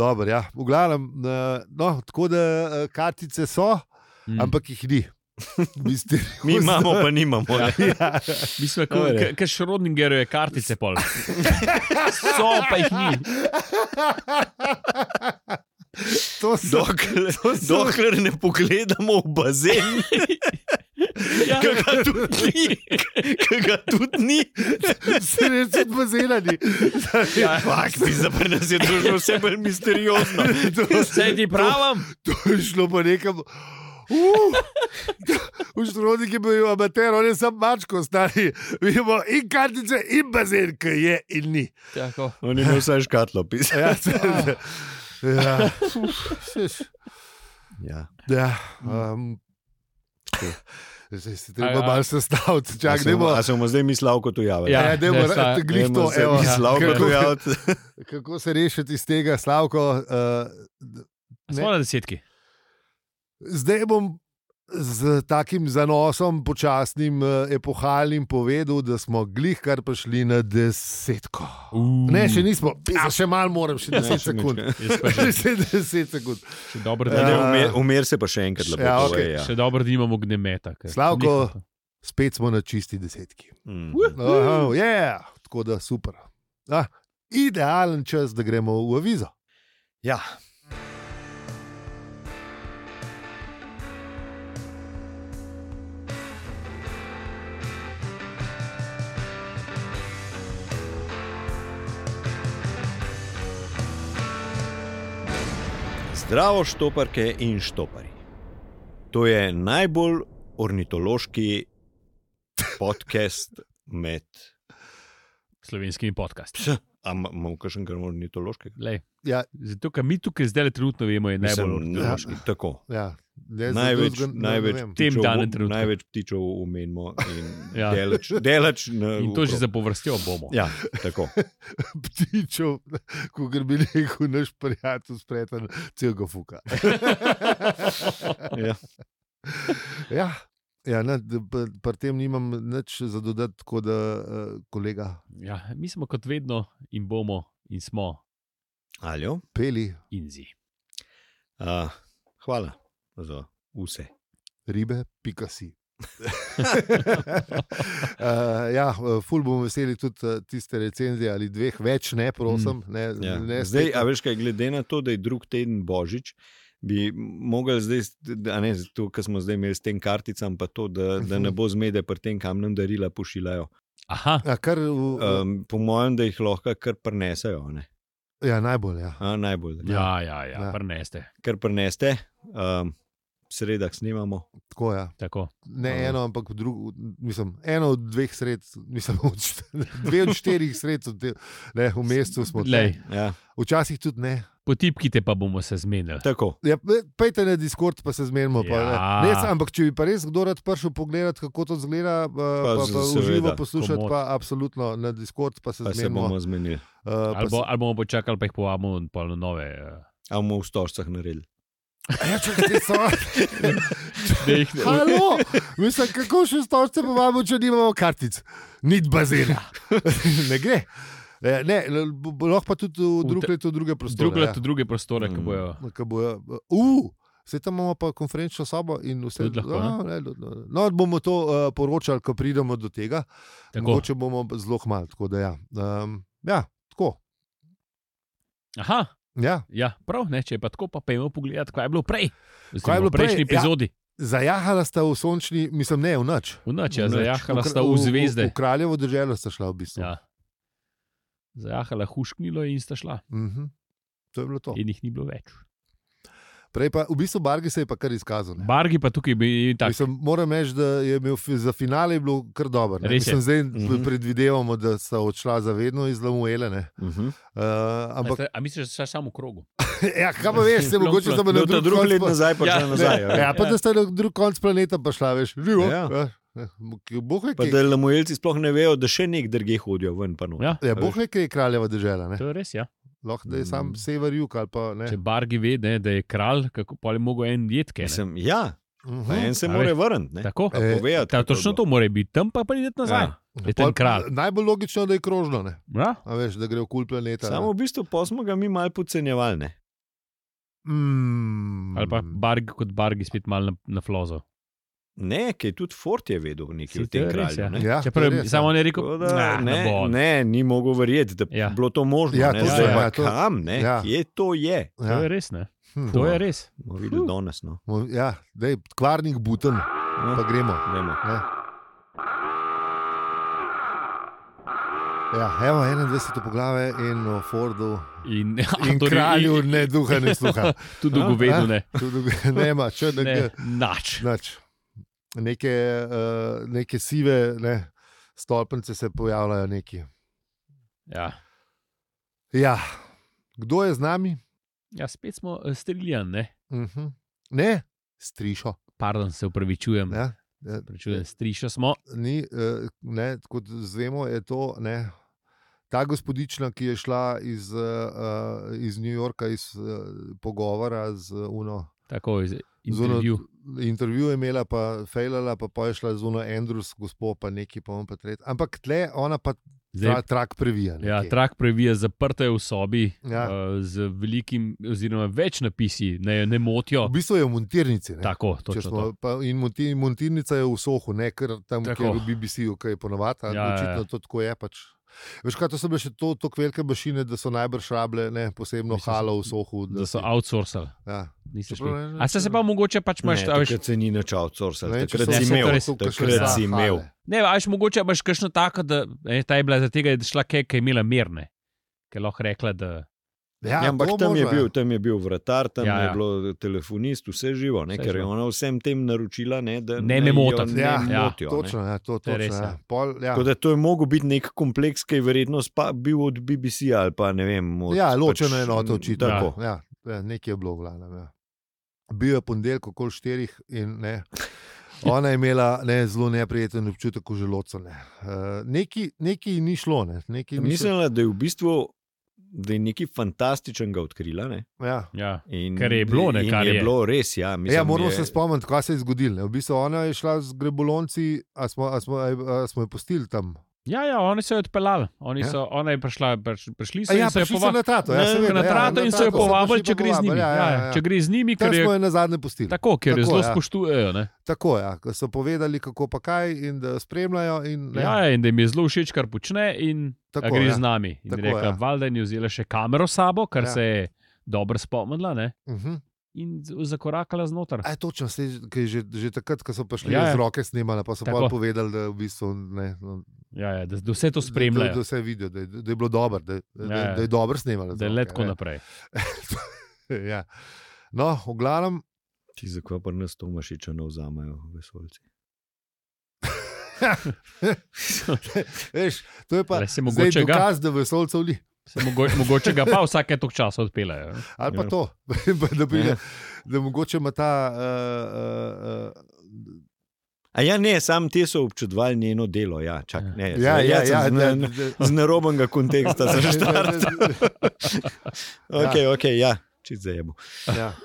[SPEAKER 3] Dobar, ja. V glavnem, eh, no, tako da eh, kartice so,
[SPEAKER 2] mm.
[SPEAKER 3] ampak jih ni. Mislim,
[SPEAKER 1] Mi imamo, pa nimamo. Ja.
[SPEAKER 3] Ja.
[SPEAKER 2] Mi smo
[SPEAKER 1] Dobre.
[SPEAKER 2] kot ka, Šrodingerjeve kartice, pol. so pa jih ni.
[SPEAKER 3] To so.
[SPEAKER 1] Dokler, dokler ne pogledamo v bazen,
[SPEAKER 2] Ja,
[SPEAKER 1] ki ga tudi ni, ki ga tudi ni.
[SPEAKER 3] Se reče, da je
[SPEAKER 2] Ja.
[SPEAKER 1] Fak, bi za nas je to že vse bolj misteriozno.
[SPEAKER 2] Vse ti pravim,
[SPEAKER 3] To je šlo pa nekam. Uh, v Šrodniku je bil amater, on je sam mačko, stari. Vidimo in kartice, in bazen, ki je in ni.
[SPEAKER 2] Tako.
[SPEAKER 1] On je imel vsaj škatlo pisati.
[SPEAKER 3] Ja, se, ja. Seš,
[SPEAKER 1] Ja.
[SPEAKER 3] ja um, zdaj se treba
[SPEAKER 2] A- a-
[SPEAKER 3] malo sestaviti, čakaj, ne Ja, bo.
[SPEAKER 1] A smo zdaj mi slavko tu javili?
[SPEAKER 2] Ja,
[SPEAKER 3] Ja, ne bo,
[SPEAKER 2] ne, sta-
[SPEAKER 3] glih to, evo,
[SPEAKER 1] mi slavko tu
[SPEAKER 3] kako,
[SPEAKER 1] javiti.
[SPEAKER 3] kako se rešiti iz tega, Slavko. Uh,
[SPEAKER 2] Smo na desetki.
[SPEAKER 3] zdaj bom z takim zanosom, počasnim, eh, epohalnim povedal, da smo glih kar prišli na desetko.
[SPEAKER 2] Uh,
[SPEAKER 3] Ne, še nismo, Pisa, še malo moram, Mm. Ja, še 10 sekund.
[SPEAKER 2] Jaz pa že,
[SPEAKER 3] Še 10 sekund.
[SPEAKER 2] še dobro,
[SPEAKER 1] Ne,
[SPEAKER 2] da
[SPEAKER 1] ne,
[SPEAKER 2] ne,
[SPEAKER 3] Ja.
[SPEAKER 1] umer, umer se pa še enkrat lepo.
[SPEAKER 3] Ja,
[SPEAKER 1] Ja, okay.
[SPEAKER 3] okej.
[SPEAKER 1] ja.
[SPEAKER 2] še dobro, da imamo gnemeta. ker-
[SPEAKER 3] Slavko.
[SPEAKER 2] Nehaj to.
[SPEAKER 3] Spet smo na čisti desetki.
[SPEAKER 1] mm.
[SPEAKER 3] Oh, yeah. Tako da super. Ah, idealen čas, da gremo v avizo.
[SPEAKER 1] ja. Zdravo, štoparke in štopari. To je najbolj ornitološki podcast med.
[SPEAKER 2] Slovenski podcast.
[SPEAKER 1] Ampak imamo kakšen ornitološki?
[SPEAKER 2] Lej,
[SPEAKER 3] Ja.
[SPEAKER 2] zato, kar mi tukaj zdaj trenutno vemo, je najbolj ornitološki.
[SPEAKER 1] Ja, tako.
[SPEAKER 3] Ja, ne, za
[SPEAKER 1] Največ,
[SPEAKER 3] drugega ne
[SPEAKER 1] največ,
[SPEAKER 3] vem.
[SPEAKER 2] Tem
[SPEAKER 1] ptičev-
[SPEAKER 2] danem trenutku.
[SPEAKER 1] največ ptičev omenimo in
[SPEAKER 2] Ja.
[SPEAKER 1] ja. delač, delač na,
[SPEAKER 2] In to že
[SPEAKER 1] v-
[SPEAKER 2] za povrstjo bomo.
[SPEAKER 1] Ja, tako.
[SPEAKER 3] ptičev, kot bi rekel naš prijatelj, spreten, celega fuka.
[SPEAKER 1] Ja.
[SPEAKER 3] ja. Ja, ne, d- p- pri tem nimam nič za dodati, tako da eh, kolega
[SPEAKER 2] Ja, mi smo kot vedno in bomo in smo
[SPEAKER 1] Aljo,
[SPEAKER 3] peli
[SPEAKER 2] inzi.
[SPEAKER 1] a, hvala za vse.
[SPEAKER 3] ribe, pika si. uh, ja, eh, ful bomo veseli tudi eh, tiste recenzije ali dveh, več ne, prosim. Ne,
[SPEAKER 1] Ja.
[SPEAKER 3] ne,
[SPEAKER 1] Zdaj,
[SPEAKER 3] spet-
[SPEAKER 1] a veš kaj, glede na to, da je drug teden božič, bi mogli zdaj, s- a ne, to, kar smo zdaj imeli s tem karticam, pa to, da, da ne bo zmede pri tem, kam nam darila pošiljajo.
[SPEAKER 2] Aha,
[SPEAKER 3] A kar, uh,
[SPEAKER 1] Um, po mojem, da jih lahko kar prenesejo, a ne?
[SPEAKER 3] ja, najbolj. Ja.
[SPEAKER 1] A, najbolj. da.
[SPEAKER 2] ja, ja, ja,
[SPEAKER 3] Ja.
[SPEAKER 2] ja. preneste.
[SPEAKER 1] Kar preneste, um, sredah snemamo.
[SPEAKER 3] Tako, ja.
[SPEAKER 2] Tako.
[SPEAKER 3] Ne
[SPEAKER 1] Aha.
[SPEAKER 3] eno, ampak drugo, mislim, eno od dveh sred, mislim, od št- dve od štirih sred, od te- ne, v mestu smo tukaj.
[SPEAKER 2] Lej,
[SPEAKER 1] Ja,
[SPEAKER 3] Včasih tudi ne.
[SPEAKER 2] potipkite pa bomo se zmenili.
[SPEAKER 1] tako.
[SPEAKER 3] Ja, pe- Pejte na Discord, pa se zmenimo. Pa,
[SPEAKER 2] Ja.
[SPEAKER 3] ne. ne, sam, ampak če bi pa res kdo rad prišel pogledat, kako to zgleda, eh, pa,
[SPEAKER 1] Pa
[SPEAKER 3] pa,
[SPEAKER 1] z-
[SPEAKER 3] pa
[SPEAKER 1] seveda,
[SPEAKER 3] uživo poslušati,
[SPEAKER 2] komot.
[SPEAKER 3] pa absolutno na Discord, pa se
[SPEAKER 1] Pa se
[SPEAKER 3] zmenimo.
[SPEAKER 1] bomo zmenili.
[SPEAKER 3] Uh,
[SPEAKER 2] Ali, bo, ali bomo počakali, pa jih povabimo in pa na nove. eh,
[SPEAKER 1] A bomo v stožcah naredili.
[SPEAKER 3] ja, če ti so.
[SPEAKER 2] Da jih
[SPEAKER 3] Halo, mislim, kako še stolce povabimo, če nimamo kartic, nit bazena. ne gre. Eh, Ne, l- bo- bo lahko pa tudi v
[SPEAKER 2] V
[SPEAKER 3] drug
[SPEAKER 2] te-
[SPEAKER 3] leto, v druge prostore. ja.
[SPEAKER 2] drugo leto, druge prostore, ki
[SPEAKER 1] Mm.
[SPEAKER 2] bojo.
[SPEAKER 3] Ki No, bojo, uh, vse tam imamo pa konferenčno sobo in vse
[SPEAKER 2] Tudi lahko,
[SPEAKER 3] no, ne, do- do- no, bomo to uh, poročali, ko pridemo do tega.
[SPEAKER 2] Tako.
[SPEAKER 3] Mogoče bomo zelo hmal, tako da ja. Um, ja, tako.
[SPEAKER 2] Aha,
[SPEAKER 3] Ja.
[SPEAKER 2] ja, prav, ne, če je pa tako, pa pojmo pogledat, kaj je bilo prej.
[SPEAKER 3] Kaj je bilo
[SPEAKER 2] v prejšnji
[SPEAKER 3] prej, ja.
[SPEAKER 2] epizodi, ja.
[SPEAKER 3] Zajahala sta v sončni, mislim, ne v noč.
[SPEAKER 2] v noči,
[SPEAKER 1] V
[SPEAKER 2] ja,
[SPEAKER 1] noč.
[SPEAKER 2] zajahala
[SPEAKER 3] Kra-
[SPEAKER 2] sta v zvezde.
[SPEAKER 3] V, v kraljevo državo sta šla v bistvu.
[SPEAKER 2] Ja. Zajahala hušknilo in sta šla,
[SPEAKER 3] Mhm. To je bilo to.
[SPEAKER 2] in jih ni bilo več.
[SPEAKER 3] Prej pa, v bistvu Bargi se je pa kar izkazal. ne.
[SPEAKER 2] Bargi pa tukaj bi tako.
[SPEAKER 3] Ja. Mislim, moram reči, da je imel fi- za finale je bilo kar dobro. ne.
[SPEAKER 2] Res je.
[SPEAKER 3] Mislim, zdaj
[SPEAKER 1] Mhm.
[SPEAKER 3] predvidevamo, da so odšla za vedno iz Lamuele. ne.
[SPEAKER 1] Uh -huh.
[SPEAKER 3] Uh, ampak,
[SPEAKER 2] A misliš, da si samo v krogu?
[SPEAKER 3] ja, kaj pa veš, se
[SPEAKER 2] Plon,
[SPEAKER 3] mogoče
[SPEAKER 2] plon.
[SPEAKER 3] samo na
[SPEAKER 1] No, ta
[SPEAKER 3] drug
[SPEAKER 1] drugi
[SPEAKER 3] konc
[SPEAKER 1] let
[SPEAKER 3] pa-
[SPEAKER 1] nazaj, pa
[SPEAKER 2] Ja,
[SPEAKER 1] ja,
[SPEAKER 2] ne.
[SPEAKER 1] nazaj.
[SPEAKER 3] Ja,
[SPEAKER 1] Ja.
[SPEAKER 3] pa da sta na drug konc planeta prišla, veš, živo.
[SPEAKER 1] Ja.
[SPEAKER 3] Ja. Bog ve,
[SPEAKER 1] Pa
[SPEAKER 3] kje
[SPEAKER 1] da lamojelci sploh ne vejo, da še nek drge hodijo ven. Pa no. not.
[SPEAKER 2] Ja,
[SPEAKER 3] ja, Bog ve, kje je kraljeva država. ne.
[SPEAKER 2] to je res. Ja.
[SPEAKER 3] Lahko da je sam
[SPEAKER 1] Mm.
[SPEAKER 3] sever jug ali pa ne.
[SPEAKER 2] Če Bargi ve, ne, da je kralj, kako pa je mogel en jedke.
[SPEAKER 1] Mislim, ja pa
[SPEAKER 3] Mhm.
[SPEAKER 1] en se
[SPEAKER 2] A
[SPEAKER 1] mora
[SPEAKER 2] veš.
[SPEAKER 1] vrniti. ne.
[SPEAKER 2] Tako.
[SPEAKER 1] Pa
[SPEAKER 3] E,
[SPEAKER 1] povedati,
[SPEAKER 2] Ta,
[SPEAKER 1] kako je
[SPEAKER 2] točno
[SPEAKER 1] bilo.
[SPEAKER 2] to mora biti, tam pa pridete nazaj.
[SPEAKER 1] Ja.
[SPEAKER 2] Je ten
[SPEAKER 3] Pol-
[SPEAKER 2] kralj.
[SPEAKER 3] Najbolj logično, da je krožno, ne.
[SPEAKER 2] Ja.
[SPEAKER 3] A veš, da gre okoli planeta. ne.
[SPEAKER 1] Samo v bistvu pa smo ga mi malo podcenjevali. ne.
[SPEAKER 3] Mm.
[SPEAKER 2] Ali pa barg, kot bargi spet malo na, na flozo.
[SPEAKER 1] Ne, ki je tudi Fort je vedel nekaj o
[SPEAKER 2] Sicer
[SPEAKER 1] tem
[SPEAKER 2] res,
[SPEAKER 1] kralju.
[SPEAKER 2] ja.
[SPEAKER 1] Ne.
[SPEAKER 3] Ja,
[SPEAKER 2] Čeprav
[SPEAKER 3] to je
[SPEAKER 2] je
[SPEAKER 3] res,
[SPEAKER 2] samo
[SPEAKER 3] ja.
[SPEAKER 2] ne
[SPEAKER 1] Tako
[SPEAKER 2] rekel,
[SPEAKER 1] Da,
[SPEAKER 2] da ne
[SPEAKER 1] ne,
[SPEAKER 2] bo.
[SPEAKER 1] ne, ni mogel verjeti, da bi
[SPEAKER 2] Ja.
[SPEAKER 1] bilo to možno.
[SPEAKER 3] Ja,
[SPEAKER 1] ne,
[SPEAKER 3] to
[SPEAKER 1] zdaj
[SPEAKER 2] ja,
[SPEAKER 1] pa
[SPEAKER 3] ja, to-
[SPEAKER 1] kam, ne,
[SPEAKER 3] ja.
[SPEAKER 1] kje to je.
[SPEAKER 2] To je res, ne.
[SPEAKER 3] Hm.
[SPEAKER 2] To je res.
[SPEAKER 1] Bomo videli
[SPEAKER 2] Uf.
[SPEAKER 1] danes. No.
[SPEAKER 3] Mo- Ja, dej, kvarnik buten, pa
[SPEAKER 1] No,
[SPEAKER 3] gremo.
[SPEAKER 1] dajmo.
[SPEAKER 3] Ne. Ja, evo 21. poglavje in o Fordu.
[SPEAKER 2] In,
[SPEAKER 3] In
[SPEAKER 2] torej,
[SPEAKER 3] kralju
[SPEAKER 2] in-
[SPEAKER 3] ne duha, ne sluha.
[SPEAKER 2] Tudi v govedu ne.
[SPEAKER 3] Tudi nema, če ne
[SPEAKER 2] ne.
[SPEAKER 3] gre.
[SPEAKER 2] Nač.
[SPEAKER 3] Nač. Neke, uh, neke sive ne, stolpnice se pojavljajo neki.
[SPEAKER 2] Ja.
[SPEAKER 3] Ja, kdo je z nami?
[SPEAKER 2] ja, spet smo eh, streljan, ne.
[SPEAKER 3] Uh -huh. Ne, strišo.
[SPEAKER 2] Pardon, se upravičujem.
[SPEAKER 3] Ja. Ja,
[SPEAKER 2] Prečujem, strišo smo.
[SPEAKER 3] ni, eh, ne, kot znemo, je to ne, ta gospodična, ki je šla iz, eh, eh, iz New Yorka, iz eh, pogovora z Uno.
[SPEAKER 2] Tako iz
[SPEAKER 3] Zuno-
[SPEAKER 2] intervju.
[SPEAKER 3] Intervju je imela, pa fejlala, pa, pa je šla zunaj Andrews, gospod, pa neki pa on pa tretji. Ampak tle ona pa tra,
[SPEAKER 2] Zdaj,
[SPEAKER 3] trak previja. nekje.
[SPEAKER 2] ja, trak previja, zaprta je v sobi
[SPEAKER 3] Ja.
[SPEAKER 2] uh, z velikim, oziroma več napisi, ne, je ne motijo.
[SPEAKER 3] V bistvu je v montirnici. Ne?
[SPEAKER 2] Tako,
[SPEAKER 3] Če
[SPEAKER 2] točno.
[SPEAKER 3] Smo,
[SPEAKER 2] to.
[SPEAKER 3] pa, in monti, montirnica je v sohu, ne ker tam,
[SPEAKER 2] Tako.
[SPEAKER 3] kjer v BBC-ju, kaj je ponovadi,
[SPEAKER 2] Ja,
[SPEAKER 3] ja,
[SPEAKER 2] ja,
[SPEAKER 3] očitno
[SPEAKER 2] ja.
[SPEAKER 3] to tako je. Pač. Veš, kaj to so bile še to- tako velike mašine, da so najbrž rable, ne posebno
[SPEAKER 2] Mislim,
[SPEAKER 3] halo v sohu.
[SPEAKER 2] Da so
[SPEAKER 3] si-
[SPEAKER 2] outsourcali.
[SPEAKER 3] ja.
[SPEAKER 2] Niste šli.
[SPEAKER 3] Čeprav ne-
[SPEAKER 2] A se, se pa mogoče pač imaš, a
[SPEAKER 1] Ne,
[SPEAKER 2] veš,
[SPEAKER 1] takrat se ni nič outsourcing,
[SPEAKER 3] Ne, če
[SPEAKER 1] takrat
[SPEAKER 3] so-
[SPEAKER 1] si
[SPEAKER 2] so
[SPEAKER 1] imel.
[SPEAKER 2] torej-
[SPEAKER 3] so kakšne
[SPEAKER 1] takrat
[SPEAKER 3] za
[SPEAKER 1] si imel.
[SPEAKER 3] hale.
[SPEAKER 2] ne, a veš, mogoče imaš kakšno tako, da je ta je bila zaradi tega, da je šla kaj, ki je imela merne, ki je lahko rekla, da
[SPEAKER 1] Ja, ampak
[SPEAKER 3] to
[SPEAKER 1] tam je,
[SPEAKER 3] možno,
[SPEAKER 1] bil,
[SPEAKER 3] ja.
[SPEAKER 1] tam je bil vratar, tam
[SPEAKER 2] Ja,
[SPEAKER 1] ja, ja. je
[SPEAKER 2] ja.
[SPEAKER 1] bilo telefonist, vse živo, ne,
[SPEAKER 2] Vse
[SPEAKER 1] ker je
[SPEAKER 2] živo.
[SPEAKER 1] ona vsem tem naročila, ne, da
[SPEAKER 2] Ne me
[SPEAKER 1] jo
[SPEAKER 2] motati.
[SPEAKER 1] Ne
[SPEAKER 3] Ja,
[SPEAKER 2] ja.
[SPEAKER 1] motijo, ne.
[SPEAKER 3] Točno, ja, to,
[SPEAKER 2] To je
[SPEAKER 3] točno,
[SPEAKER 2] res,
[SPEAKER 3] ja.
[SPEAKER 2] ja.
[SPEAKER 3] Pol, ja.
[SPEAKER 1] Tako da to je mogel biti nek kompleks, ki je verjetno spa, bil od BBC ali pa ne vem. Od, pač
[SPEAKER 2] Pač
[SPEAKER 3] Ja, ločeno je enoto očitno.
[SPEAKER 1] Tako.
[SPEAKER 3] Ja, ja, nekaj je bilo, glavno. Ja. Bil je ponedeljek okoli štirih in ne. Ona je imela ne, zelo neprijeten občutek v želodcu. Ne. Uh, neki, neki ni šlo. Ne. Neki ni šlo.
[SPEAKER 1] Mislila, da je v bistvu da je nekaj fantastičnega odkrila. Ne?
[SPEAKER 3] Ja.
[SPEAKER 2] ja,
[SPEAKER 1] In,
[SPEAKER 2] Kar je bilo, ne,
[SPEAKER 1] in
[SPEAKER 2] kar
[SPEAKER 1] je,
[SPEAKER 2] je.
[SPEAKER 1] bilo res. Ja, mislim,
[SPEAKER 3] Mislim, ja, moramo
[SPEAKER 1] je,
[SPEAKER 3] je... se spomniti, kaj se je zgodilo. ne. V bistvu ona je šla z grebolonci, a smo, a smo, a, a smo jo pustili tam.
[SPEAKER 2] ja, ja oni so jo odpeljali, oni
[SPEAKER 3] Ja.
[SPEAKER 2] so, ona je prišla, priš, prišli so
[SPEAKER 3] A
[SPEAKER 2] in
[SPEAKER 3] ja,
[SPEAKER 2] so jo
[SPEAKER 3] prišli so
[SPEAKER 2] povabili.
[SPEAKER 3] na trato.
[SPEAKER 1] Ne,
[SPEAKER 3] Ja, seveda,
[SPEAKER 2] Na
[SPEAKER 3] ja,
[SPEAKER 2] trato in so jo
[SPEAKER 3] Trato
[SPEAKER 2] povabili,
[SPEAKER 3] prišli
[SPEAKER 2] če
[SPEAKER 3] pa
[SPEAKER 2] gre z njimi.
[SPEAKER 3] povabili, Ja, ja, ja.
[SPEAKER 2] Če gre z njimi, ker
[SPEAKER 3] Tam
[SPEAKER 2] je
[SPEAKER 3] smo jo na zadnje pustili.
[SPEAKER 2] Tako, ker jo
[SPEAKER 3] Tako,
[SPEAKER 2] zelo
[SPEAKER 3] ja.
[SPEAKER 2] spoštujejo. Ne?
[SPEAKER 3] Tako, ja, ko so povedali, kako pa kaj, in da spremljajo. In, ne,
[SPEAKER 2] Ja, in da jim je zelo všeč, kar počne, in da
[SPEAKER 3] tako,
[SPEAKER 2] gre
[SPEAKER 3] ja.
[SPEAKER 2] z nami. In
[SPEAKER 3] Tako,
[SPEAKER 2] Tako, rekla,
[SPEAKER 3] ja.
[SPEAKER 2] ja. Valjda je vzela še kamero s sabo, kar
[SPEAKER 3] Ja.
[SPEAKER 2] ja. se je dobro spomnila, ne?
[SPEAKER 3] Uh -huh.
[SPEAKER 2] in z- zakorakala znotraj.
[SPEAKER 3] A, točno, sej, kaj, že, že takrat, ko so prišli
[SPEAKER 2] Ja,
[SPEAKER 3] ja,
[SPEAKER 2] ja.
[SPEAKER 3] z roke snimali, pa so
[SPEAKER 2] Tako.
[SPEAKER 3] pa povedali, da v bistvu ne. no,
[SPEAKER 2] Ja, ja, da, da vse to
[SPEAKER 3] Da, da
[SPEAKER 2] spremljajo,
[SPEAKER 3] vse vidijo, da, je- da je bilo dobro, da, ja, da,
[SPEAKER 2] Ja, ja.
[SPEAKER 3] da je dobro snimali. z
[SPEAKER 2] da je
[SPEAKER 3] roke,
[SPEAKER 2] le tako
[SPEAKER 3] ne.
[SPEAKER 2] naprej.
[SPEAKER 3] ja. No, v glavnem,
[SPEAKER 1] Ti zakaj pa nas Tomašiča ne vzamejo, vesolci?
[SPEAKER 3] veš, to je pa
[SPEAKER 2] Le se
[SPEAKER 3] zdaj
[SPEAKER 2] mogoče ga,
[SPEAKER 3] dokaz, da vesolcev ni.
[SPEAKER 2] se mogo, mogoče ga pa vsake tok časa odpeljajo. ne.
[SPEAKER 3] Ali pa
[SPEAKER 1] Ja.
[SPEAKER 3] to, da, pride,
[SPEAKER 1] Ja.
[SPEAKER 3] da mogoče ima ta. eh, Uh, uh, uh,
[SPEAKER 1] A ja, ne, sam ti so občudovali njeno delo. Ja, čak, ne,
[SPEAKER 3] ja,
[SPEAKER 1] zdaj
[SPEAKER 3] ja,
[SPEAKER 1] jaz sem
[SPEAKER 3] ja,
[SPEAKER 1] z,
[SPEAKER 3] da-
[SPEAKER 1] na-
[SPEAKER 3] da-
[SPEAKER 1] z narobnega konteksta za štart.
[SPEAKER 3] Ja.
[SPEAKER 1] Ok, ok, ja, čist zajemo.
[SPEAKER 3] Ja.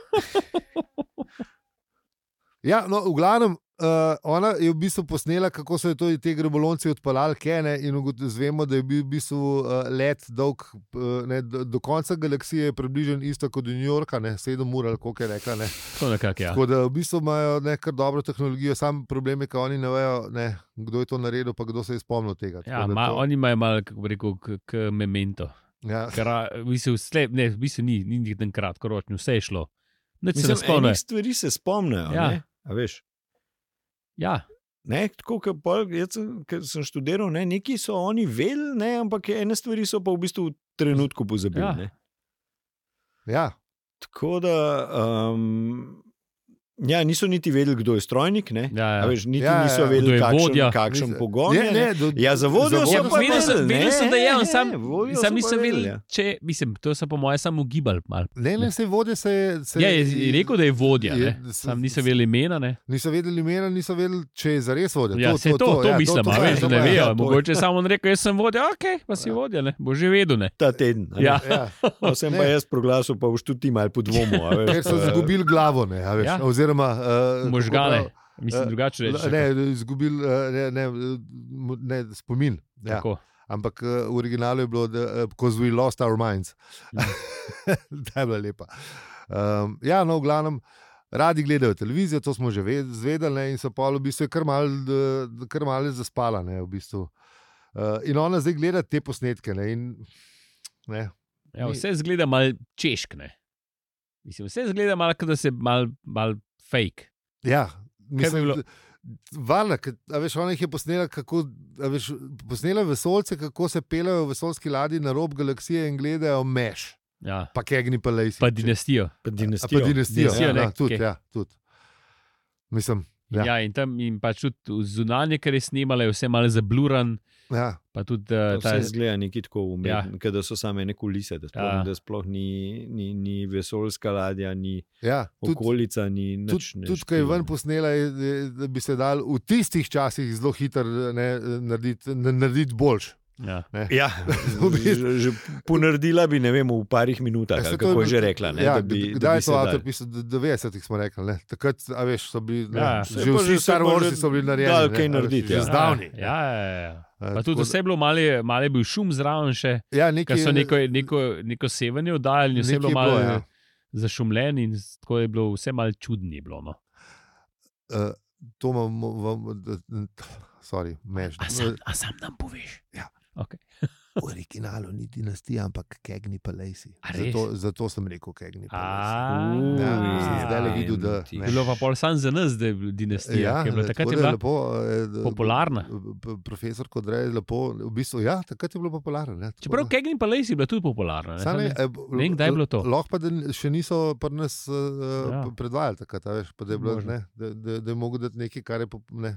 [SPEAKER 3] ja, no, v glavnem, uh, ona je v bistvu posnela, kako so jo to, te grebolonci odpeljali, kene, in ugot- zvemo, da je bil v bistvu uh, let dolg, uh, ne, do, do konca galaksije je približno isto kot do New Yorka, ne, sedem ur ali koliko je rekla. Ne.
[SPEAKER 2] Tako nekako, ja.
[SPEAKER 3] Tako da v bistvu imajo ne, kar dobro tehnologijo, sam problem je, ker oni ne vejo, ne, kdo je to naredil, pa kdo se je spomnil tega. Tako
[SPEAKER 2] Ja,
[SPEAKER 3] da
[SPEAKER 2] ma,
[SPEAKER 3] to-
[SPEAKER 2] oni imajo malo, kako bi rekel, k, k memento.
[SPEAKER 3] ja.
[SPEAKER 2] Ker, a, v bistvu, slep, ne, v bistvu ni, ni nikden kratkoročni, vse je šlo. Nič
[SPEAKER 1] Mislim,
[SPEAKER 2] se ne
[SPEAKER 1] enih
[SPEAKER 2] spomne.
[SPEAKER 1] stvari se spomnijo.
[SPEAKER 2] Ja.
[SPEAKER 1] Ja. Veš,
[SPEAKER 2] Ja,
[SPEAKER 1] Ne, tako kot pol, jaz sem, ke sem študiral, ne, neki so oni vedeli, ne, ampak ene stvari so pa v bistvu v trenutku pozabili.
[SPEAKER 2] Ja.
[SPEAKER 1] Ja.
[SPEAKER 3] ja,
[SPEAKER 1] Tako da, um, ja, niso niti vedeli, kdo je strojnik. Ne,
[SPEAKER 2] ja,
[SPEAKER 1] ja.
[SPEAKER 2] ja.
[SPEAKER 1] Veš, niti
[SPEAKER 3] Ja, ja,
[SPEAKER 1] ja,
[SPEAKER 3] ja.
[SPEAKER 1] niso
[SPEAKER 2] Kdo
[SPEAKER 1] vedeli,
[SPEAKER 2] je
[SPEAKER 1] kakšen,
[SPEAKER 2] vodja?
[SPEAKER 1] kakšen
[SPEAKER 3] Mislim-
[SPEAKER 1] pogon
[SPEAKER 3] Ne,
[SPEAKER 1] je. Ne.
[SPEAKER 3] ne, do,
[SPEAKER 1] Ja, za vodjo
[SPEAKER 3] za
[SPEAKER 1] so
[SPEAKER 2] Ja,
[SPEAKER 1] pa
[SPEAKER 3] vodjo
[SPEAKER 2] vedel
[SPEAKER 1] vedeli,
[SPEAKER 2] sem, vedel
[SPEAKER 1] ne,
[SPEAKER 2] sem, da je on
[SPEAKER 1] ne,
[SPEAKER 2] sam.
[SPEAKER 1] vodjo so
[SPEAKER 2] Sam
[SPEAKER 1] pa
[SPEAKER 2] nisem
[SPEAKER 1] vedeli,
[SPEAKER 2] vedel,
[SPEAKER 1] ja.
[SPEAKER 2] če, mislim, to so po mojem samo ugibali. malo.
[SPEAKER 3] Ne, ne, se vode se je. Se
[SPEAKER 2] Ja, je je rekel, da je vodja,
[SPEAKER 3] je-
[SPEAKER 2] ne.
[SPEAKER 3] se-
[SPEAKER 2] sam nisem vedel imena. Ne.
[SPEAKER 3] Niso vedeli imena, niso vedeli, če je zares vodil.
[SPEAKER 2] Ja, se to, to, to
[SPEAKER 3] ja,
[SPEAKER 2] mislim, a
[SPEAKER 3] to,
[SPEAKER 2] veš, da
[SPEAKER 3] to,
[SPEAKER 2] ne
[SPEAKER 3] ja,
[SPEAKER 2] vejo.
[SPEAKER 3] ja, to.
[SPEAKER 2] Mogoče je samo on rekel, jaz sem vodja, ok, pa si
[SPEAKER 3] Ja.
[SPEAKER 2] vodja, ne. bo že vedel. Ne.
[SPEAKER 1] Ta teden. a ne.
[SPEAKER 2] Ja.
[SPEAKER 3] Ja,
[SPEAKER 1] No, Sem pa
[SPEAKER 3] Ne.
[SPEAKER 1] jaz proglasil, pa boš tudi ti malo podvomil. a veš.
[SPEAKER 3] ker so izgubili glavo, ne, a veš,
[SPEAKER 2] Ja.
[SPEAKER 3] ja. oziroma uh,
[SPEAKER 2] Možgane, mislim,
[SPEAKER 3] eh,
[SPEAKER 2] drugače reči.
[SPEAKER 3] Ne, izgubili eh, ne, ne, m- ne, spomin. Ja.
[SPEAKER 2] Tako.
[SPEAKER 3] Ampak eh, v originalu je bilo, da eh, because we lost our minds.
[SPEAKER 2] Ja.
[SPEAKER 3] Ta je bila lepa. Um, ja, no, v glavnem. Radi gledajo televizijo, to smo že ve- zvedeli, ne, in so pa v bistvu kar malo mal zaspala. Ne, v bistvu. uh, in ona zdaj gleda te posnetke. Ne, in, ne,
[SPEAKER 2] Ja,
[SPEAKER 3] Ni-
[SPEAKER 2] vse zgleda malo češkne. Mislim, vse zgleda malo, kot da se malo mal fake.
[SPEAKER 3] Ja,
[SPEAKER 2] bi
[SPEAKER 3] mislim,
[SPEAKER 2] bilo?
[SPEAKER 3] da- Varna, ker, a veš, ona jih je posnela, kako, a veš, posnela je vesolce, kako se pelejo v vesolski ladji na rob galaksije in gledajo meš,
[SPEAKER 2] Ja.
[SPEAKER 3] pa kegni pa lejsi.
[SPEAKER 2] Pa dinastijo.
[SPEAKER 1] Pa
[SPEAKER 3] A pa
[SPEAKER 1] dinastijo.
[SPEAKER 3] dinastijo.
[SPEAKER 2] Dinastijo,
[SPEAKER 3] Ja,
[SPEAKER 2] ne,
[SPEAKER 3] ja, tudi,
[SPEAKER 2] ke-
[SPEAKER 3] ja, tudi. Mislim,
[SPEAKER 2] Ja.
[SPEAKER 3] Ja.
[SPEAKER 2] ja, in tam jim pač tudi zunanje, kar je snimala, je vse malo zabluran,
[SPEAKER 3] ja,
[SPEAKER 2] pa tudi uh, ta
[SPEAKER 1] Vse zgleda nekaj tako umetno, ja. da so same neke kulise, da sploh,
[SPEAKER 2] Ja.
[SPEAKER 1] ja. da sploh ni, ni, ni vesoljska ladja, ni
[SPEAKER 3] ja, tudi,
[SPEAKER 1] okolica, ni nič.
[SPEAKER 3] tudi,
[SPEAKER 1] ne
[SPEAKER 3] tudi kaj
[SPEAKER 1] štima,
[SPEAKER 3] ven
[SPEAKER 1] ne.
[SPEAKER 3] posnela, je, je, da bi se dal v tistih časih zelo hitro ne, narediti, narediti boljš.
[SPEAKER 2] Ja.
[SPEAKER 1] Ja,
[SPEAKER 3] Zamisli.
[SPEAKER 1] že ponardila bi, ne vem, v parih minutah,
[SPEAKER 3] Ja,
[SPEAKER 1] ali
[SPEAKER 3] saj
[SPEAKER 1] kako
[SPEAKER 3] to
[SPEAKER 1] je že rekla. Ne,
[SPEAKER 3] ja,
[SPEAKER 1] da bi, da
[SPEAKER 3] kdaj
[SPEAKER 1] bi
[SPEAKER 3] je
[SPEAKER 1] se
[SPEAKER 3] to avtor
[SPEAKER 1] dalo.
[SPEAKER 3] pisal? D- 90-ih smo rekli. Ne? Takrat a veš, so bili ne,
[SPEAKER 2] Ja,
[SPEAKER 3] ja,
[SPEAKER 1] saj
[SPEAKER 3] že
[SPEAKER 1] pa že
[SPEAKER 3] vsi
[SPEAKER 1] so
[SPEAKER 3] Star
[SPEAKER 1] pa
[SPEAKER 3] Warsi
[SPEAKER 1] že
[SPEAKER 3] so bili narejeni.
[SPEAKER 1] dali
[SPEAKER 3] ne,
[SPEAKER 1] kaj
[SPEAKER 3] a veš,
[SPEAKER 1] narediti,
[SPEAKER 3] Že
[SPEAKER 1] ja.
[SPEAKER 3] zdavni.
[SPEAKER 2] Ja, ja, ja.
[SPEAKER 3] A,
[SPEAKER 2] Pa tudi
[SPEAKER 3] tako
[SPEAKER 2] vse je bilo malo, je- malo je bil šum zraven še,
[SPEAKER 3] da- ja, nekaj,
[SPEAKER 2] ker so neko, neko, neko sevanje oddajali, in vse je bilo
[SPEAKER 3] nekaj
[SPEAKER 2] malo
[SPEAKER 3] ja.
[SPEAKER 2] ja. zašumljeno in tako je bilo vse malo čudno. je Bilo, no.
[SPEAKER 3] Eh, To imam, vam- d- d- sorry, meš.
[SPEAKER 2] a, sam, a sam nam poveš?
[SPEAKER 3] V originalu ni dinastija, ampak Kegni Palacey.
[SPEAKER 2] A res?
[SPEAKER 3] Zato, zato sem rekel Kegni Palacey.
[SPEAKER 2] A,
[SPEAKER 3] Ja, sem zdaj
[SPEAKER 2] ja.
[SPEAKER 3] videl, da ne.
[SPEAKER 2] Bilo pa pol sam za nas, da je bila dinastija. Ja, je bila, takrat je
[SPEAKER 3] Eh. tako da
[SPEAKER 2] bila
[SPEAKER 3] lepo, eh, d-
[SPEAKER 2] popularna.
[SPEAKER 3] p- Profesor Kodrej je lepo, v bistvu, ja, takrat je bilo popularno. ne, tako
[SPEAKER 2] Čeprav
[SPEAKER 3] da-
[SPEAKER 2] Keglin pa Lacey je bila tudi popularna. Ne?
[SPEAKER 3] Saj ne,
[SPEAKER 2] Samo-
[SPEAKER 3] eh, b-
[SPEAKER 2] ne vem, kdaj je bilo to.
[SPEAKER 3] Lahko pa da n- še niso pri nas uh,
[SPEAKER 2] Ja.
[SPEAKER 3] ja. predvajali takrat, a veš, pa da je bilo,
[SPEAKER 2] Možno.
[SPEAKER 3] ne, da, da, da je mogo dati nekaj, kar je. pop- Ne.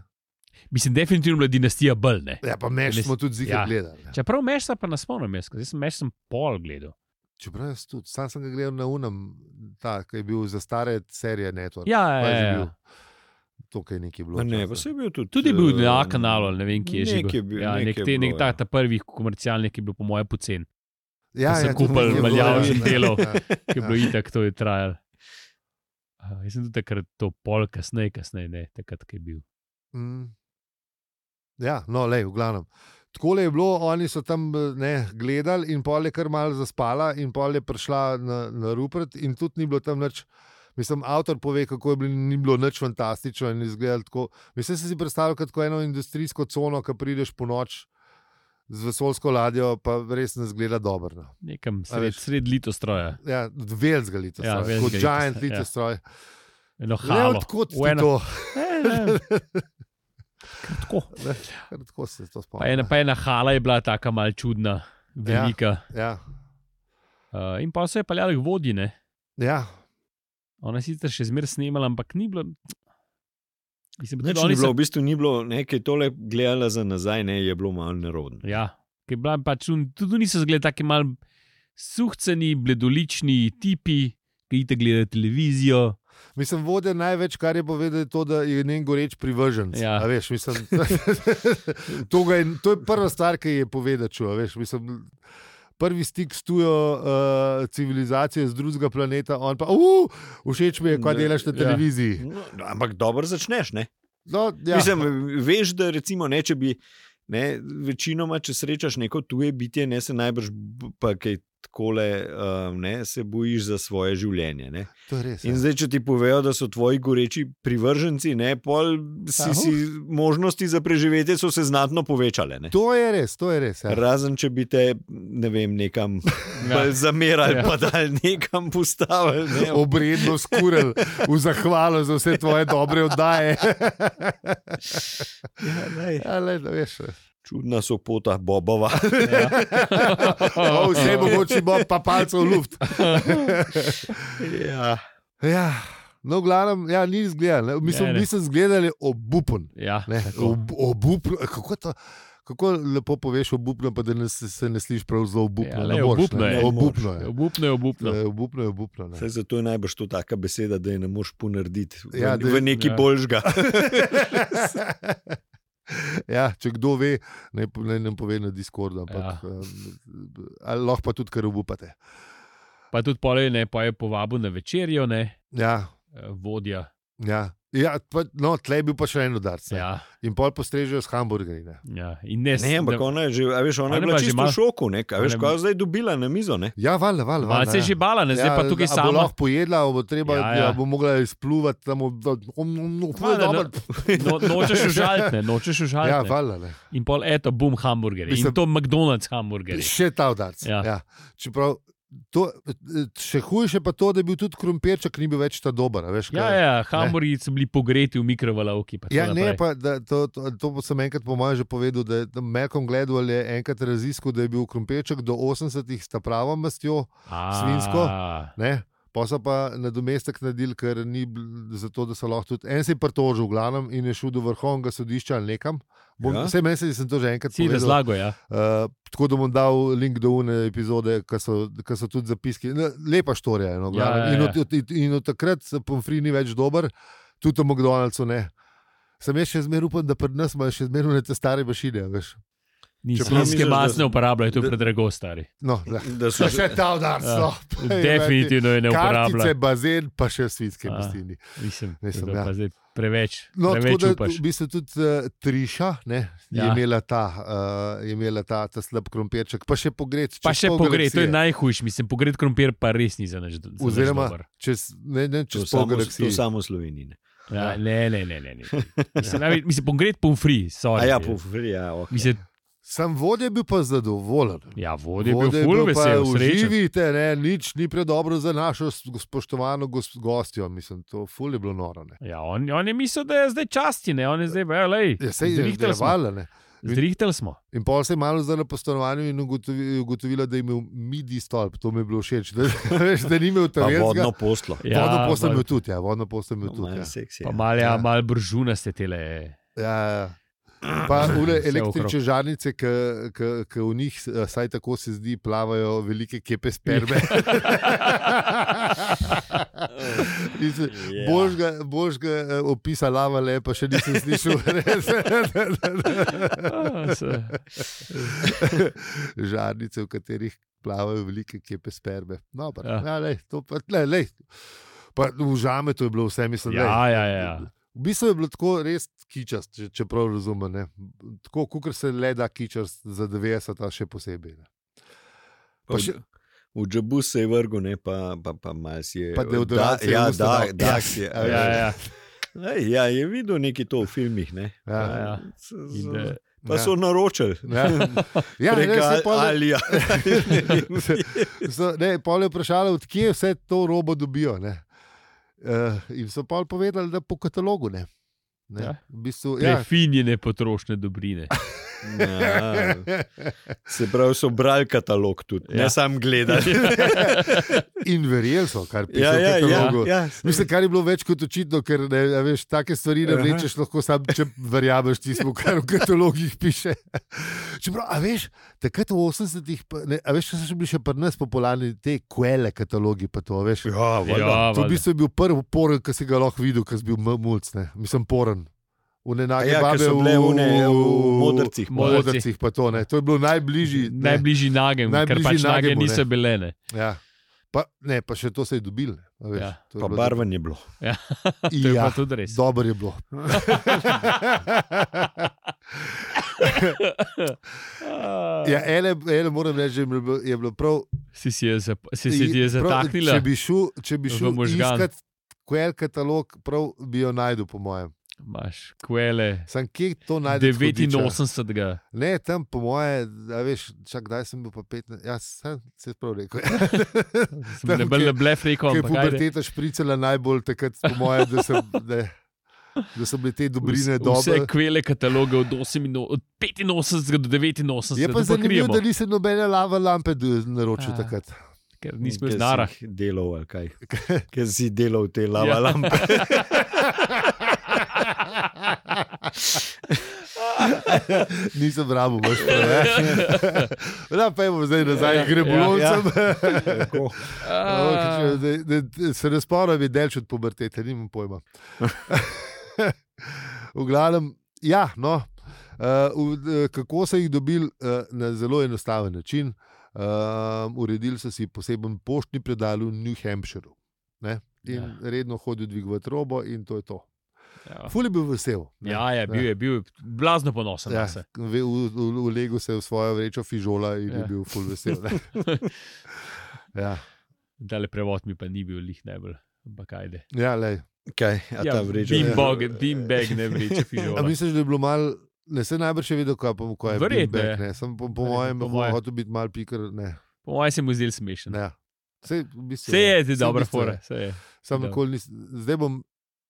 [SPEAKER 2] Mislim, definitivno je bila dinastija bolj. Ne?
[SPEAKER 3] Ja, pa meš
[SPEAKER 2] Nis-
[SPEAKER 3] smo tudi zigri
[SPEAKER 2] ja.
[SPEAKER 3] ja. gledali. ne.
[SPEAKER 2] Čeprav mešta pa nas spomnim, jaz, ker jaz sem mešta pol gledal.
[SPEAKER 3] Čeprav jaz tudi, sam sem ga gledal na unem, ta, ki je bil za stare serije Network.
[SPEAKER 2] Ja,
[SPEAKER 3] Pa
[SPEAKER 2] ja,
[SPEAKER 3] Pač je že
[SPEAKER 2] ja.
[SPEAKER 3] bil. Tukaj je nekaj bilo.
[SPEAKER 1] Ma Ne,
[SPEAKER 3] včasih.
[SPEAKER 1] pa se je bil tudi.
[SPEAKER 2] Tudi je bil
[SPEAKER 1] eh,
[SPEAKER 2] na kanalu, ali ne vem, kje je že.
[SPEAKER 1] nekje
[SPEAKER 2] bil.
[SPEAKER 1] bil-
[SPEAKER 2] Ja, nek
[SPEAKER 1] nekje je bilo,
[SPEAKER 2] te, nek ta,
[SPEAKER 1] ja.
[SPEAKER 2] ta prvi komercialni, ki je bil po mojem pocen,
[SPEAKER 3] Ja,
[SPEAKER 2] so
[SPEAKER 3] ja,
[SPEAKER 2] kupili
[SPEAKER 3] tudi nekaj je bilo,
[SPEAKER 1] maljavnih
[SPEAKER 3] ja.
[SPEAKER 2] delov.
[SPEAKER 3] Ja.
[SPEAKER 2] ki je bilo itak, to je trajal. Uh, jaz sem tudi takrat to pol, kasneje, kasneje, ne, takrat, ki je bil.
[SPEAKER 3] Mm. Ja, no, le, v glavnem. Tako je bilo, oni so tam eh, ne, gledali, in pol je kar mal zaspala, in pol je prišla na, na Rupert, in tudi ni bilo tam nič. Mislim, avtor pove, kako je bilo, ni bilo nič fantastično in izgledalo tako. Mislim, da si si predstavljal kot tako eno industrijsko cono, ki prideš po noč z vesolsko ladjo, pa res ne zgleda dobro. No.
[SPEAKER 2] Nekam
[SPEAKER 3] A
[SPEAKER 2] sred,
[SPEAKER 3] veš.
[SPEAKER 2] sred litostraja,
[SPEAKER 3] Ja, velzga lito,
[SPEAKER 2] Ja,
[SPEAKER 3] ja,
[SPEAKER 2] velik
[SPEAKER 3] kot
[SPEAKER 2] litostroj,
[SPEAKER 3] giant
[SPEAKER 2] ja.
[SPEAKER 3] lito stroj.
[SPEAKER 2] eno
[SPEAKER 3] Ja,
[SPEAKER 2] halo.
[SPEAKER 3] odkot ti
[SPEAKER 2] v eno-
[SPEAKER 3] to?
[SPEAKER 2] Ne, ne, kar tako.
[SPEAKER 3] Kar Tako se to
[SPEAKER 2] Pa
[SPEAKER 3] spomnim.
[SPEAKER 2] ena, pa ena hala je bila tako malce čudna, velika.
[SPEAKER 3] Ja,
[SPEAKER 2] Ja. Uh, in pa so je peljali k vodine.
[SPEAKER 3] ja.
[SPEAKER 2] Ona je sicer še zmeraj snemala, ampak ni bilo. Mislim,
[SPEAKER 1] Nič ni
[SPEAKER 2] da oni
[SPEAKER 1] bilo,
[SPEAKER 2] so.
[SPEAKER 1] v bistvu ni bilo, nekaj tole gledala za nazaj, ne, je bilo malo nerodno.
[SPEAKER 2] Ja, ker je bila pač, un- tudi niso zgledali tako mal suhceni, bledolični tipi, ki jih gledajo televizijo.
[SPEAKER 3] Mislim, vode največ, kar je povedal, je to, da je njen goreč privrženec.
[SPEAKER 2] Ja.
[SPEAKER 3] Ja. Veš, mislim, to, ga je, to je prva stvar, ki je povedal. Ču, veš, mislim, prvi stik s tujo uh, civilizacijo z drugega planeta, on pa, uh, všeč mi je, kaj
[SPEAKER 1] Ne,
[SPEAKER 3] delaš na
[SPEAKER 2] ja.
[SPEAKER 3] televiziji.
[SPEAKER 1] No, ampak dobro začneš, ne?
[SPEAKER 3] No,
[SPEAKER 1] Ja.
[SPEAKER 3] ja.
[SPEAKER 1] Mislim, veš, da recimo ne, če bi. Ne, večinoma, če srečaš neko tuje bitje, ne se najbrž, b- pa kaj takole, um, ne, se bojiš za svoje življenje. Ne.
[SPEAKER 3] to je res.
[SPEAKER 1] In
[SPEAKER 3] Ja.
[SPEAKER 1] zdaj, če ti povejo, da so tvoji goreči privrženci, ne, pol si,
[SPEAKER 2] Ja,
[SPEAKER 1] si možnosti za preživetje so se znatno povečale. Ne.
[SPEAKER 3] To je res, to je res. Ja.
[SPEAKER 1] Razen, če bi te, ne vem, nekam ja.
[SPEAKER 2] Ja.
[SPEAKER 1] zamerali,
[SPEAKER 2] Ja.
[SPEAKER 1] ja. pa dal nekam postavili. Ne.
[SPEAKER 3] Obredno skurel v zahvalo za vse tvoje dobre oddaje.
[SPEAKER 1] Ja, lej.
[SPEAKER 3] Ja, le, da veš.
[SPEAKER 1] Čudna so pota Bobova.
[SPEAKER 2] Ja.
[SPEAKER 1] Oh.
[SPEAKER 3] O, vse mogoče bo pa palce v luft.
[SPEAKER 1] ja.
[SPEAKER 3] Ja, no, v glavnem, ja, ni izgledal.
[SPEAKER 2] Ne,
[SPEAKER 3] Mislim,
[SPEAKER 2] ne.
[SPEAKER 3] mi smo zgledali obupen.
[SPEAKER 2] Ja,
[SPEAKER 3] ne,
[SPEAKER 2] tako.
[SPEAKER 3] Ob, obupno, kako, to, kako lepo poveš obupno, pa da ne, se, se ne slišiš prav zelo obupno.
[SPEAKER 2] Ja, le,
[SPEAKER 3] ne moreš,
[SPEAKER 2] obupno
[SPEAKER 3] ne,
[SPEAKER 2] je.
[SPEAKER 3] Obupno je.
[SPEAKER 2] obupno je obupno.
[SPEAKER 3] Eh, Obupno je, obupno. ne.
[SPEAKER 1] Saj zato je najbrž to taka beseda, da je ne moš ponarditi v,
[SPEAKER 3] Ja,
[SPEAKER 1] ja,
[SPEAKER 3] da-
[SPEAKER 1] v neki
[SPEAKER 2] ja.
[SPEAKER 1] ja. boljžga.
[SPEAKER 3] ja, če kdo ve, naj po- naj nam pove na Discordu. Ampak,
[SPEAKER 2] Ja.
[SPEAKER 3] ja. Ali lahko pa tudi, ker obupate.
[SPEAKER 2] Pa tudi polje ne, pa je povabil na večerjo, ne,
[SPEAKER 3] Ja,
[SPEAKER 2] eh, vodja.
[SPEAKER 3] ja. ja pa, no, tle je bil pa še en udarc. ne.
[SPEAKER 2] Ja,
[SPEAKER 3] In pol postrežejo s hamburgerji. ne.
[SPEAKER 2] ja. In ne,
[SPEAKER 1] Ne, ampak ona je že, a veš, ona
[SPEAKER 2] Ona
[SPEAKER 1] je
[SPEAKER 2] je
[SPEAKER 1] bila
[SPEAKER 2] bila že
[SPEAKER 1] čisto
[SPEAKER 2] malo-
[SPEAKER 1] v šoku, ne, a veš,
[SPEAKER 2] Ona je-
[SPEAKER 1] kaj je zdaj dobila na mizo, ne.
[SPEAKER 3] Ja, valjda, valjda. valjda,
[SPEAKER 2] Malce je
[SPEAKER 3] ja.
[SPEAKER 2] že bala, ne, zdaj pa
[SPEAKER 3] Ja,
[SPEAKER 2] tukaj
[SPEAKER 3] a Bo
[SPEAKER 2] sama.
[SPEAKER 3] lahko pojedla, a bo treba,
[SPEAKER 2] Ja,
[SPEAKER 3] ja,
[SPEAKER 2] ja.
[SPEAKER 3] ja. bo mogla izpluvati tam, da bo
[SPEAKER 2] Valjda, no.
[SPEAKER 3] dobro.
[SPEAKER 2] No, nočeš užaliti, ne, nočeš
[SPEAKER 3] Ja,
[SPEAKER 2] užaliti. ne.
[SPEAKER 3] valjda. ne.
[SPEAKER 2] In pol, eto, bum, hamburgerje. In
[SPEAKER 3] Mislim-
[SPEAKER 2] to McDonald's hamburgerje.
[SPEAKER 3] Še ta udarc.
[SPEAKER 2] Ja.
[SPEAKER 3] Ja. Ja. Čeprav, to, še hujše pa to, da je bil tudi krompirček, ni bil več ta dober. a Veš,
[SPEAKER 2] Ja,
[SPEAKER 3] kaj-
[SPEAKER 2] ja, hamburgerji so bili pogreti v mikrovalovki. Pa tako
[SPEAKER 3] Ja, ne,
[SPEAKER 2] naprej.
[SPEAKER 3] pa, da, to, to, to pa sem enkrat, po mojem, že povedal. da je- da Malcolm Gladwell je enkrat raziskal, da je bil krompirček do 80-ih s ta pravo mastjo,
[SPEAKER 2] A,
[SPEAKER 3] svinjsko. ne, pa so pa nadomestek naredili, ker ni bil- zato, da so lahko tudi en se je pritožil, v glavnem, in je šel do vrhovnega sodišča ali nekam. Bom,
[SPEAKER 1] Ja.
[SPEAKER 3] ja. Vse meni se, da sem to že enkrat
[SPEAKER 2] Si
[SPEAKER 3] videl.
[SPEAKER 2] razlago, ja.
[SPEAKER 3] Uh, tako da bom dal link do une epizode, ki so, ki so tudi zapiski. Ne, Lepa štorija je. No, v
[SPEAKER 2] Ja,
[SPEAKER 3] glavnem.
[SPEAKER 2] ja,
[SPEAKER 3] in,
[SPEAKER 2] ja.
[SPEAKER 3] od, od, in od takrat se pomfri ni več dober, tudi v McDonald'su ne. Sam jaz še zmeraj upam, da pri nas imajo še zmeraj one te stare mašine. a Veš.
[SPEAKER 2] Ni
[SPEAKER 3] Čeprav
[SPEAKER 2] svinjske
[SPEAKER 1] misliš, da-
[SPEAKER 2] masne uporabljajo, to je
[SPEAKER 1] da-
[SPEAKER 2] predrago stari.
[SPEAKER 3] No, da.
[SPEAKER 1] Da so
[SPEAKER 3] Še
[SPEAKER 1] že-
[SPEAKER 3] ta udarc.
[SPEAKER 2] Ja.
[SPEAKER 3] no, pa je,
[SPEAKER 2] Definitivno je ne uporabljajo.
[SPEAKER 3] Kartice, bazen, pa še svinjske
[SPEAKER 2] A.
[SPEAKER 3] gostini.
[SPEAKER 2] Mislim,
[SPEAKER 3] Mislim,
[SPEAKER 2] to je
[SPEAKER 3] ja.
[SPEAKER 2] pa zdaj preveč,
[SPEAKER 3] No,
[SPEAKER 2] preveč
[SPEAKER 3] tako da
[SPEAKER 2] upaš.
[SPEAKER 3] v bistvu tudi uh, Triša ne, je,
[SPEAKER 2] Ja.
[SPEAKER 3] ja. imela ta, uh, je imela ta, ta slab krompirček, pa še pogred.
[SPEAKER 2] Pa
[SPEAKER 3] čez
[SPEAKER 2] še
[SPEAKER 3] pol
[SPEAKER 2] pogrej, to je
[SPEAKER 3] galaksije.
[SPEAKER 2] najhujši, mislim, pogrej krompir pa res ni za nič. za nič
[SPEAKER 3] Oziroma,
[SPEAKER 2] dober.
[SPEAKER 3] čez, ne,
[SPEAKER 1] To
[SPEAKER 3] ne, čez
[SPEAKER 1] samo,
[SPEAKER 3] pol
[SPEAKER 1] to
[SPEAKER 3] galaksije.
[SPEAKER 1] samo v Sloveniji. ne.
[SPEAKER 2] Ja, ne, ne, ne. ne, ne. Mislim, ja. mislim pogrej pomfri,
[SPEAKER 1] A
[SPEAKER 2] sorry.
[SPEAKER 1] ja, pofri, ja, ok.
[SPEAKER 2] Mislim,
[SPEAKER 3] Sam vodja je bil pa zadovoljen.
[SPEAKER 2] ja, vode je
[SPEAKER 3] Vodja
[SPEAKER 2] bil ful
[SPEAKER 3] pa,
[SPEAKER 2] vesel, srečen.
[SPEAKER 3] Uživite, ne, nič ni predobro za našo s- spoštovano gos- gostjo. Mislim, to ful je bilo noro. Ne.
[SPEAKER 2] Ja, on, on je mislil, da je zdaj časti, ne, on je zdaj, ja, lej,
[SPEAKER 3] Ja, sej je
[SPEAKER 2] zrihtel smo.
[SPEAKER 3] delovala. ne.
[SPEAKER 2] Zrihtel smo.
[SPEAKER 3] In pol se je malo zdaj na postanovanju in ugotovi, ugotovila, da je imel midi stolp. To mi je bilo všeč, da, veš, da ni imel
[SPEAKER 1] Pa
[SPEAKER 3] tam
[SPEAKER 1] vodno poslo.
[SPEAKER 2] Ja,
[SPEAKER 3] vodno posel je
[SPEAKER 2] pa-
[SPEAKER 3] bil tudi, ja, vodno posel je bil
[SPEAKER 1] No,
[SPEAKER 3] tudi.
[SPEAKER 1] malo
[SPEAKER 3] Ja.
[SPEAKER 1] seksi,
[SPEAKER 2] Pa
[SPEAKER 1] ja.
[SPEAKER 2] mal, ja,
[SPEAKER 3] Ja.
[SPEAKER 2] mal bržuna ste tele.
[SPEAKER 3] Ja, ja. Pa ule
[SPEAKER 2] Vse
[SPEAKER 3] električne
[SPEAKER 2] okrog.
[SPEAKER 3] žarnice, ki v njih, eh, vsaj tako se zdi, plavajo velike kepe sperme. In se-
[SPEAKER 1] Ja.
[SPEAKER 3] Boš ga, boš ga eh, opisa lava le, pa še nisem slišal. res.
[SPEAKER 2] A, se-
[SPEAKER 3] Žarnice, v katerih plavajo velike kepe sperme. No, pa,
[SPEAKER 2] Ja.
[SPEAKER 3] ja. Ja, lej, to pa, lej, lej. pa v žame to je bilo vse, mislim. lej.
[SPEAKER 2] Ja, ja, ja.
[SPEAKER 3] V bistvu je bilo tako res kičast, če, če prav razumem. Ne? Tako, kot se le da kičast za 90, še posebej. Ne? Pa
[SPEAKER 1] V-
[SPEAKER 3] še-
[SPEAKER 1] V džabu se je vrgel, ne pa, pa, pa malo si je.
[SPEAKER 3] Pa
[SPEAKER 1] da,
[SPEAKER 3] deodorant si je
[SPEAKER 1] ja,
[SPEAKER 3] v usta
[SPEAKER 1] da,
[SPEAKER 3] dal.
[SPEAKER 1] da, si je.
[SPEAKER 3] Ja,
[SPEAKER 2] Ja, ja.
[SPEAKER 1] Ej, ja, je videl neki to v filmih. Ne?
[SPEAKER 3] Ja,
[SPEAKER 2] ja.
[SPEAKER 1] S- s-
[SPEAKER 2] In, eh,
[SPEAKER 1] Pa so naročili. ja.
[SPEAKER 3] Ja, ja ne,
[SPEAKER 1] Prek
[SPEAKER 3] se
[SPEAKER 1] Al-
[SPEAKER 3] pa ali.
[SPEAKER 1] Alija.
[SPEAKER 3] So, ne, pol je vprašala, odkje vse to robo dobijo. Ne? Uh, in so pa povedali, da po katalogu ne. ne.
[SPEAKER 2] Ja.
[SPEAKER 3] Ja. V bistvu, ja.
[SPEAKER 2] Prefinjene potrošne dobrine.
[SPEAKER 1] Ja, se pravi, so brali katalog tudi, ja.
[SPEAKER 2] Ja.
[SPEAKER 1] ne sam gledali.
[SPEAKER 3] in verjeli so, kar piše
[SPEAKER 1] ja, ja,
[SPEAKER 3] v
[SPEAKER 1] ja,
[SPEAKER 3] katalogu.
[SPEAKER 1] ja,
[SPEAKER 3] Mislim, kar je bilo več kot očitno, ker ne, a veš, take stvari ne
[SPEAKER 1] Aha.
[SPEAKER 3] rečeš, lahko sam, če verjameš tistemu, kar v katalogih piše. Čeprav, a veš, takrat v 80-ih, pa- ne, a veš, če so še bili še pri nas popularni te kuele katalogi, pa to a veš.
[SPEAKER 1] ja, valjda.
[SPEAKER 2] Ja,
[SPEAKER 3] To v
[SPEAKER 2] valjda.
[SPEAKER 3] bistvu je bil prvi poren, ki si ga lahko videl, ki si bil m- mulc, ne. mislim poren. V
[SPEAKER 1] A
[SPEAKER 3] nenage
[SPEAKER 1] ja, ker
[SPEAKER 3] babe
[SPEAKER 1] so bile
[SPEAKER 3] v-
[SPEAKER 1] une v modrcih.
[SPEAKER 2] Modrci.
[SPEAKER 3] modrcih, pa to ne. To je bilo najbližji. ne.
[SPEAKER 2] Najbližji nagem, ker
[SPEAKER 3] Najbližji
[SPEAKER 2] pač nage
[SPEAKER 3] nagemu, ne.
[SPEAKER 2] niso bile. Ne.
[SPEAKER 3] Ja. Pa, ne, pa še to se je dobil. ne, a veš,
[SPEAKER 2] Ja.
[SPEAKER 3] to je
[SPEAKER 1] Pa
[SPEAKER 3] bilo-
[SPEAKER 1] barvan je bilo.
[SPEAKER 2] To je
[SPEAKER 3] Ja.
[SPEAKER 2] pa tudi res.
[SPEAKER 3] Dobro je bilo. ja, ene, ene moram reči, da je bilo- je bilo prav.
[SPEAKER 2] Si si je, zap, si si je
[SPEAKER 3] prav,
[SPEAKER 2] zataknila.
[SPEAKER 3] Če bi šel, če bi
[SPEAKER 2] v
[SPEAKER 3] šel
[SPEAKER 2] možgan.
[SPEAKER 3] iskat, QR katalog, prav bi jo najdel, po mojem.
[SPEAKER 2] Imaš kvele.
[SPEAKER 3] Sam kje to najdeš?
[SPEAKER 2] 89.
[SPEAKER 3] Ne, tam po moje, a veš, čak kdaj sem bil pa 15, ja, sem se prav rekel.
[SPEAKER 2] Sem ne bil
[SPEAKER 3] kje-
[SPEAKER 2] le blef rekel,
[SPEAKER 3] Ko je
[SPEAKER 2] ampak ajde.
[SPEAKER 3] puberteta špricala najbolj takrat, po moje, da sem, ne, da so bile te
[SPEAKER 2] Vse-
[SPEAKER 3] dobrine dobre.
[SPEAKER 2] Vse kvele kataloge od, 8, od 85 do 89.
[SPEAKER 3] Je pa
[SPEAKER 2] to
[SPEAKER 3] zanimivo,
[SPEAKER 2] krijemo,
[SPEAKER 3] da nisem nobene lava lampe d- naročil
[SPEAKER 2] Ah.
[SPEAKER 3] takrat.
[SPEAKER 2] ker nismo
[SPEAKER 1] Ker si
[SPEAKER 2] iz Nara.
[SPEAKER 1] jih Delal, ali kaj. Ker si delal te lava
[SPEAKER 2] Ja.
[SPEAKER 1] ja. lampe.
[SPEAKER 3] Nisem rabo, veš. Ja, pa imamo zdaj nazaj, gre bolovcem.
[SPEAKER 2] Ja,
[SPEAKER 1] Tako.
[SPEAKER 3] Se ne spomnim, je delč od pubertete, nimam pojma. V glavnem, ja, no. Uh, v, eh, kako so jih dobili uh, na zelo enostaven način? Uh, uredili so si poseben poštni predal v New Hampshireu. Ne? In
[SPEAKER 2] Ja.
[SPEAKER 3] ja. redno hodil dvigovati robo, in to je to.
[SPEAKER 2] Ja.
[SPEAKER 3] Ful je bil vesel. ne.
[SPEAKER 2] Ja, ja, bil je, bil je blazno ponosen
[SPEAKER 3] Ja,
[SPEAKER 2] na se.
[SPEAKER 3] ve- v, v, v Legu se je v svojo vrečo fižola in ja.
[SPEAKER 2] Ja.
[SPEAKER 3] je bil ful vesel. ne. ja,
[SPEAKER 2] Dale prevod mi pa ni bil lih najbolj. Ampak ajde. Ja,
[SPEAKER 3] ja lej.
[SPEAKER 1] Kaj, a ta vreča.
[SPEAKER 2] Beanbag, beanbag ne vreče,
[SPEAKER 3] A
[SPEAKER 2] fižol.
[SPEAKER 3] misliš, da je bilo malo. Ne, se najbrž še vedel, kaj, pa- kaj je
[SPEAKER 2] Verjetno je.
[SPEAKER 3] Beanbag, ne. Sem po, po
[SPEAKER 2] Verjetno,
[SPEAKER 3] mojem
[SPEAKER 2] po
[SPEAKER 3] ho-
[SPEAKER 2] moje.
[SPEAKER 3] hotel biti mal pikr. Ne,
[SPEAKER 2] Po mojem se mu je zdel smešen.
[SPEAKER 3] ne. Se, v bistvu,
[SPEAKER 2] Vse je
[SPEAKER 3] Saj
[SPEAKER 2] zdaj
[SPEAKER 3] v
[SPEAKER 2] dobra
[SPEAKER 3] bistvu
[SPEAKER 2] fora.
[SPEAKER 3] je.
[SPEAKER 2] saj je.
[SPEAKER 3] Sam
[SPEAKER 2] Da.
[SPEAKER 3] nikoli nisem. Zdaj bom.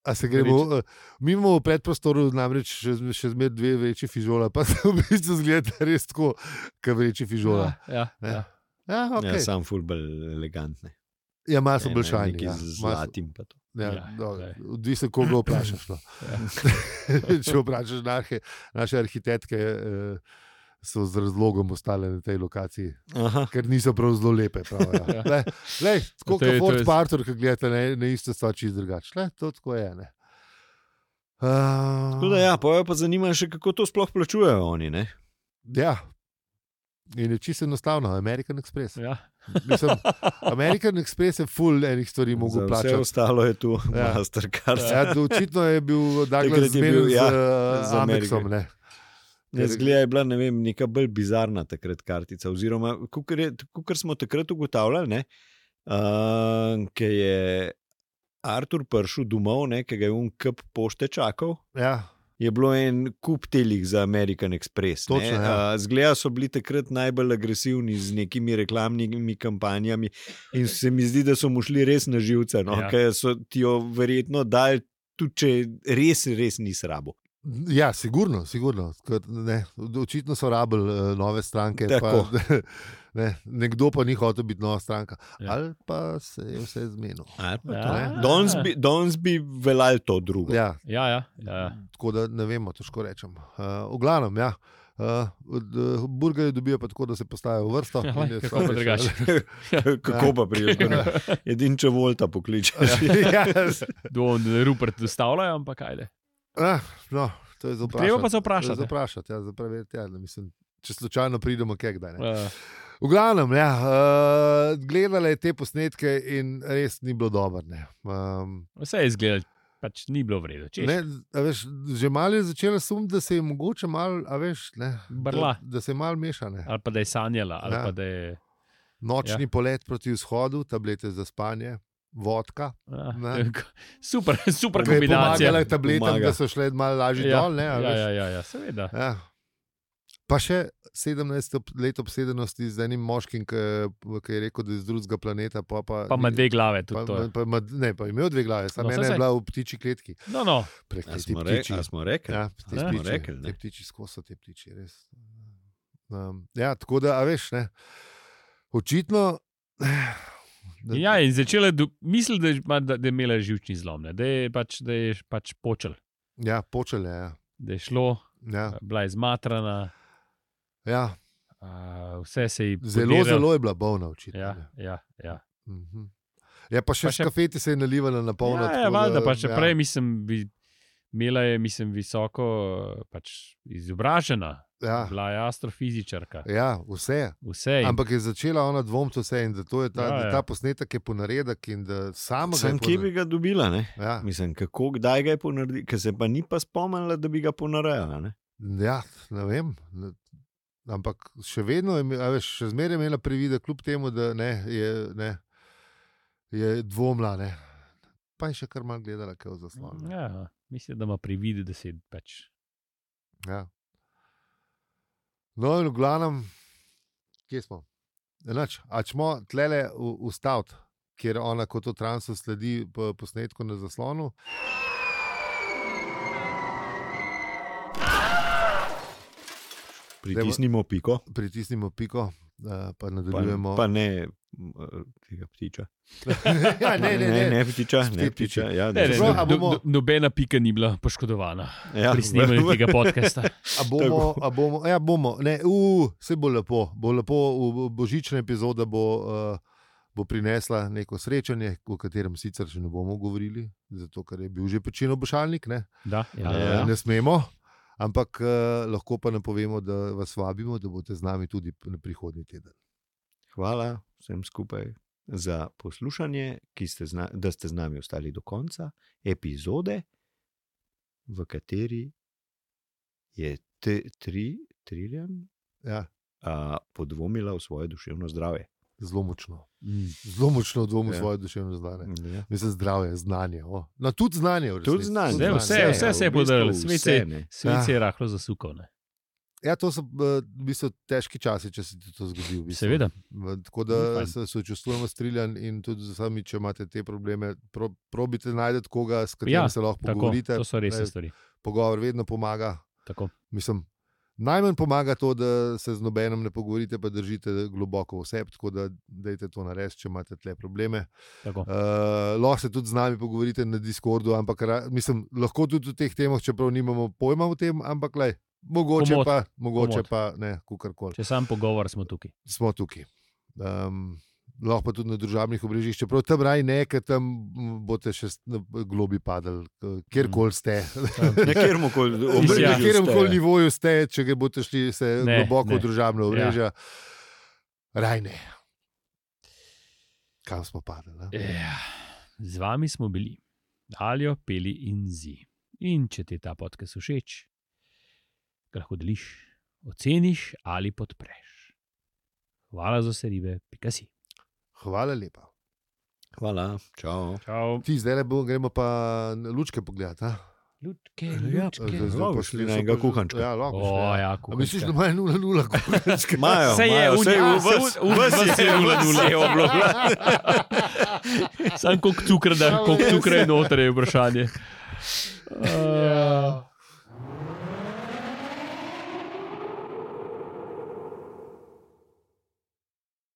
[SPEAKER 3] A se gremo, eh, mi imamo v predprostoru namreč še, zme- še zmeraj dve vreči fižola, pa se v bistvu zgleda res tako, kot vreči fižola.
[SPEAKER 2] Ja,
[SPEAKER 3] Ne.
[SPEAKER 2] ja.
[SPEAKER 3] Ja,
[SPEAKER 1] Okay. Ja,
[SPEAKER 3] okay.
[SPEAKER 1] sam fulbel elegantne.
[SPEAKER 3] ja malo so
[SPEAKER 1] Ne,
[SPEAKER 3] bolj
[SPEAKER 1] ne,
[SPEAKER 3] šajni.
[SPEAKER 1] neki Z
[SPEAKER 3] Ja, malo so-
[SPEAKER 1] zlatim. pa to.
[SPEAKER 3] Ja,
[SPEAKER 2] Ja,
[SPEAKER 3] no,
[SPEAKER 2] glej.
[SPEAKER 3] Odvisno, koga vprašaš. No.
[SPEAKER 2] Ja.
[SPEAKER 3] Če vprašaš naše, naše arhitekte, eh, so z razlogom ostale na tej lokaciji,
[SPEAKER 1] Aha.
[SPEAKER 3] ker niso prav zelo lepe. Prav,
[SPEAKER 2] Ja.
[SPEAKER 3] ja. Le, le, tako
[SPEAKER 2] To je- to
[SPEAKER 3] kot Fort
[SPEAKER 2] je-
[SPEAKER 3] Parter, ki gledate na, na isto stvar, čez drugače. Le, To tako je. Ne. Uh,
[SPEAKER 1] ja. Ah. Tako da, ja, pa jo pa zanima še, kako to sploh plačujejo oni. Ne?
[SPEAKER 3] ja, In je čisto enostavno, American Express.
[SPEAKER 2] Ja.
[SPEAKER 3] Mislim, American Express je full enih stvari,
[SPEAKER 1] Za
[SPEAKER 3] mogo
[SPEAKER 1] Vse
[SPEAKER 3] plačati.
[SPEAKER 1] ostalo je tu,
[SPEAKER 3] Ja.
[SPEAKER 1] ja. Mastercard. Ja.
[SPEAKER 3] Ja, to očitno je bil
[SPEAKER 1] Takrat
[SPEAKER 3] Douglas
[SPEAKER 1] je bil,
[SPEAKER 3] zmeden
[SPEAKER 1] ja,
[SPEAKER 3] z
[SPEAKER 1] z
[SPEAKER 3] eh,
[SPEAKER 1] Ameriko.
[SPEAKER 3] Amexom. ne.
[SPEAKER 1] Ne, zgleda je bila ne vem, neka bolj bizarna takrat kartica. Oziroma, kot smo takrat ugotavljali, ne, uh, ker je Artur prišel domov, ne, ki ga je unkup pošte čakal.
[SPEAKER 3] Ja,
[SPEAKER 1] Je bilo en kup telih za American Express. ne.
[SPEAKER 3] Točno, ja.
[SPEAKER 1] A, Zgleda so bili takrat najbolj agresivni z nekimi reklamnimi kampanjami, in se mi zdi, da so mu šli res na živce. No,
[SPEAKER 2] Ja.
[SPEAKER 1] ja. Ker so ti jo verjetno dali, tudi če res, res nisi rabo.
[SPEAKER 3] Ja, sigurno, sigurno. Ker, ne, očitno so rabili eh, nove stranke. Pa,
[SPEAKER 1] Tako.
[SPEAKER 3] ne, nekdo pa ni hotel biti nova stranka. Ja.
[SPEAKER 2] Ja.
[SPEAKER 3] Ali pa se je vse zmenil.
[SPEAKER 2] Ja.
[SPEAKER 1] Danes bi, danes bi veljal to drugo.
[SPEAKER 3] Ja,
[SPEAKER 2] Ja, ja, ja, ja.
[SPEAKER 3] tako da ne vemo, težko rečem. Uh, v glavnem, ja. Uh, burgerje dobijo pa tako, da se postavijo v vrsto.
[SPEAKER 2] Ja,
[SPEAKER 3] in je
[SPEAKER 2] kako pa
[SPEAKER 3] sopeš,
[SPEAKER 2] drugače?
[SPEAKER 1] Kako pa prideš do njega? Edin, če volta pokličeš.
[SPEAKER 3] ja,
[SPEAKER 2] Dvom, da Rupert dostavljajo, ampak ajde.
[SPEAKER 3] Ah, no, to je za vprašati.
[SPEAKER 2] Treba pa se
[SPEAKER 3] To je
[SPEAKER 2] vprašati.
[SPEAKER 3] Za vprašati, ja, za preveriti. Ja, ne, mislim, če slučajno pridemo, kaj kdaj. Ne.
[SPEAKER 2] Uh,
[SPEAKER 3] V glavnem, ja, uh, gledala je te posnetke in res ni bilo dobro. ne. Um,
[SPEAKER 2] vse je izgledalo, pač ni bilo v redu. Češ,
[SPEAKER 3] ne, a veš, že malo je začela sum, da se je mogoče malo, a veš, ne,
[SPEAKER 2] Brla.
[SPEAKER 3] Da, da se je malo mešane.
[SPEAKER 2] ali pa da je sanjala, ali
[SPEAKER 3] Ja.
[SPEAKER 2] ja. pa da je.
[SPEAKER 3] Nočni ja. polet proti vzhodu, tablete za spanje, vodka.
[SPEAKER 2] Ja,
[SPEAKER 3] Ne.
[SPEAKER 2] super, super
[SPEAKER 3] Ki je
[SPEAKER 2] kombinacija.
[SPEAKER 3] Pomagala je tabletam, Pomaga.
[SPEAKER 1] Pomaga.
[SPEAKER 3] da so šle malo lažje
[SPEAKER 2] Ja,
[SPEAKER 3] dol. Ne, a
[SPEAKER 2] ja,
[SPEAKER 3] veš.
[SPEAKER 2] ja, ja, ja, seveda.
[SPEAKER 3] Ja. Pa še 17 ob- let obsedenosti z enim moškim, ki ki je rekel, da je z drugega planeta. Pa, pa,
[SPEAKER 2] Pa ima dve glave tudi
[SPEAKER 3] Pa,
[SPEAKER 2] to.
[SPEAKER 3] pa,
[SPEAKER 2] je.
[SPEAKER 3] pa, ima- ne, pa je imel dve glave, samo
[SPEAKER 2] No,
[SPEAKER 3] no,
[SPEAKER 2] saj,
[SPEAKER 3] ena je
[SPEAKER 2] saj.
[SPEAKER 3] bila v ptiči kletki.
[SPEAKER 2] No, no,
[SPEAKER 1] A
[SPEAKER 3] Prekleti
[SPEAKER 1] smo, re,
[SPEAKER 3] ptiči.
[SPEAKER 1] a smo rekli?
[SPEAKER 3] Ja, te
[SPEAKER 1] Ja.
[SPEAKER 3] ptiči,
[SPEAKER 1] Rekli, ne.
[SPEAKER 3] te ptiči skoso, te ptiči, res. Um, ja, tako da, a veš, ne. Očitno. Da,
[SPEAKER 2] ja, in začela je do- misliti, da, ima- da, da je imela živčni zlom, ne, da je pač, da je pač počel,
[SPEAKER 3] ja počele, ja.
[SPEAKER 2] da je šlo,
[SPEAKER 3] Ja,
[SPEAKER 2] bila je zmatrana,
[SPEAKER 3] ja.
[SPEAKER 2] a, vse se je
[SPEAKER 3] Zelo, zelo je bila bolna, očitno.
[SPEAKER 2] Ja,
[SPEAKER 3] ne.
[SPEAKER 2] ja, ja.
[SPEAKER 3] Mhm. Ja, pa še
[SPEAKER 2] Pa še-
[SPEAKER 3] škafeti se je nalivala na polno.
[SPEAKER 2] ja, ja
[SPEAKER 3] tako
[SPEAKER 2] valjda, pa še
[SPEAKER 3] ja.
[SPEAKER 2] ja. prej mislim, bi, imela je mislim, visoko eh, pač izobražena,
[SPEAKER 3] Ja,
[SPEAKER 2] bila je astrofizičarka,
[SPEAKER 3] ja vse.
[SPEAKER 2] vse. In,
[SPEAKER 3] Ampak je začela ona dvomiti vse in da to je ta, ja,
[SPEAKER 2] Ja,
[SPEAKER 3] ja. Da
[SPEAKER 2] ja.
[SPEAKER 3] ta posnetek je ponaredek in da sama ga je
[SPEAKER 1] Sam kje bi
[SPEAKER 3] ponaredila.
[SPEAKER 1] ga dobila, ne?
[SPEAKER 3] Ja.
[SPEAKER 1] Mislim, kako, kdaj ga je ponaredila, ker se pa ni pa spomnila, da bi ga ponarejala. ne.
[SPEAKER 3] Ja, ne vem. ne- Ampak še vedno je, imel- a veš, še zmeraj je imela privide, kljub temu, da ne, je, ne, je dvomila. Ne. Pa je še kar mal gledala, kaj v zaslon. ne.
[SPEAKER 2] ja, mislim, da ima privid, da se je pač.
[SPEAKER 3] Ja. No, in v glavnem, kje smo? Enač, a čmo tlele ustaviti, kjer ona kot v transu sledi po posnetku na zaslonu.
[SPEAKER 1] Pritisnimo piko,
[SPEAKER 3] pritisnimo piko, eh, pa
[SPEAKER 1] pa,
[SPEAKER 3] nadaljujemo.
[SPEAKER 1] pa ne m, tega ptiča.
[SPEAKER 3] ja, ne, ne, ne.
[SPEAKER 1] ne ptiča, ne
[SPEAKER 3] Spet
[SPEAKER 1] ptiča.
[SPEAKER 3] ptiči.
[SPEAKER 1] Ja,
[SPEAKER 2] Ne, ne,
[SPEAKER 1] da-
[SPEAKER 3] Čeprav, a
[SPEAKER 2] no,
[SPEAKER 3] bomo-
[SPEAKER 2] bomo... no, nobena pika ni bila poškodovana
[SPEAKER 1] ja.
[SPEAKER 2] pri snemanju tega podcasta.
[SPEAKER 3] A bomo, a bomo, ja, bomo. Ne, uh, vse bo lepo, bo lepo, v- v- božična epizoda bo, uh, bo prinesla neko srečanje, o katerem sicer še ne bomo govorili, zato ker je bil že pečeno bošalnik, ne,
[SPEAKER 2] Da, ja,
[SPEAKER 1] Ja,
[SPEAKER 2] ja,
[SPEAKER 3] Eh,
[SPEAKER 2] ja.
[SPEAKER 3] ne smemo. Ampak uh, lahko pa nam povemo, da vas vabimo, da boste z nami tudi p- prihodnji teden.
[SPEAKER 1] Hvala vsem skupaj za poslušanje, ki ste z na, da ste z nami ostali do konca epizode, v kateri je te, tri, Triljan
[SPEAKER 3] Ja,
[SPEAKER 1] a, podvomila v svoje duševno zdravje.
[SPEAKER 3] zelo močno,
[SPEAKER 2] Mm.
[SPEAKER 3] zelo močno dvomim v
[SPEAKER 1] Ja.
[SPEAKER 3] svoje duševno zdravje.
[SPEAKER 1] Ja.
[SPEAKER 3] Mislim, zdravje, znanje. O. No, tudi znanje. v resnici.
[SPEAKER 1] Tudi znanje.
[SPEAKER 2] Zdaj vse,
[SPEAKER 1] ja,
[SPEAKER 2] vse se je
[SPEAKER 1] v bistvu
[SPEAKER 2] podarilo, svet se-
[SPEAKER 1] vse, ne.
[SPEAKER 2] Svet se
[SPEAKER 3] Ja.
[SPEAKER 2] je rahlo zasukal. ne.
[SPEAKER 3] Ja, to so eh, v bistvu težki časi, če se ti to zgodi. V bistvu.
[SPEAKER 2] Seveda,
[SPEAKER 3] V- Tako
[SPEAKER 2] No, Ni
[SPEAKER 3] da
[SPEAKER 2] fajn.
[SPEAKER 3] se sočustvujemo s Triljan in tudi z vami, če imate te probleme, pro, probite najti koga, s katerim
[SPEAKER 2] Ja,
[SPEAKER 3] se lahko
[SPEAKER 2] tako,
[SPEAKER 3] pogovorite.
[SPEAKER 2] to so resne
[SPEAKER 3] Ne,
[SPEAKER 2] stvari.
[SPEAKER 3] Pogovor vedno pomaga.
[SPEAKER 2] Tako.
[SPEAKER 3] Mislim, najmanj pomaga to, da se z nobenim ne pogovorite, pa držite globoko v sebi. Tako da dajte to narediti, če imate tle probleme.
[SPEAKER 2] tako.
[SPEAKER 3] Uh, lahko se tudi z nami pogovorite na Discordu, ampak ra, mislim, lahko tudi o teh temah, čeprav nimamo pojma o tem, ampak le. Mogoče
[SPEAKER 2] Komot.
[SPEAKER 3] pa, mogoče
[SPEAKER 2] Komot.
[SPEAKER 3] pa ne, kukar koli.
[SPEAKER 2] Če sam pogovor smo tukaj.
[SPEAKER 3] Smo tukaj. Um, lahko pa tudi na družabnih obrežjih, čeprav tam raj ne, ker tam m, boste še s- na- globi padali, k- kjerkoli ste.
[SPEAKER 1] Na katerem koli
[SPEAKER 2] Mislim, ja.
[SPEAKER 3] Na katerem koli
[SPEAKER 1] območju.
[SPEAKER 3] nivoju ste, če ga boste šli se
[SPEAKER 2] Ne,
[SPEAKER 3] ne, globoko
[SPEAKER 2] ne.
[SPEAKER 3] ne. v družabno obrežje, ja. raj ne. Kam smo padli? ne?
[SPEAKER 2] Eh, Z vami smo bili, alijo, peli in zi. In če ti je ta podcast všeč, ga lahko deliš, oceniš ali podpreš. Hvala za vse ribe, pika si.
[SPEAKER 3] Hvala lepa.
[SPEAKER 1] Hvala, čau.
[SPEAKER 2] Čau.
[SPEAKER 3] Ti zdaj gremo pa na lučke pogledati. a?
[SPEAKER 2] Ljudke,
[SPEAKER 1] Ja,
[SPEAKER 2] ljudke.
[SPEAKER 1] zdaj- lahko šli na
[SPEAKER 3] so
[SPEAKER 1] enega
[SPEAKER 3] pa-
[SPEAKER 1] kuhančka.
[SPEAKER 3] Ja, lahko. šli,
[SPEAKER 2] O,
[SPEAKER 3] ja.
[SPEAKER 2] ja,
[SPEAKER 3] A
[SPEAKER 2] kuhančka.
[SPEAKER 3] misliš, da imajo nula, nula, kuhančka?
[SPEAKER 1] Majo,
[SPEAKER 2] Saj je,
[SPEAKER 1] majo,
[SPEAKER 2] un-
[SPEAKER 1] saj
[SPEAKER 2] ja,
[SPEAKER 1] v-
[SPEAKER 2] saj
[SPEAKER 1] vas-
[SPEAKER 2] un- un-
[SPEAKER 1] vas
[SPEAKER 2] vas je nula, nula.
[SPEAKER 1] je bilo.
[SPEAKER 2] Sam koliko cukra, da, koliko cukra je noter, je vprašanje. Uh,
[SPEAKER 3] Ja.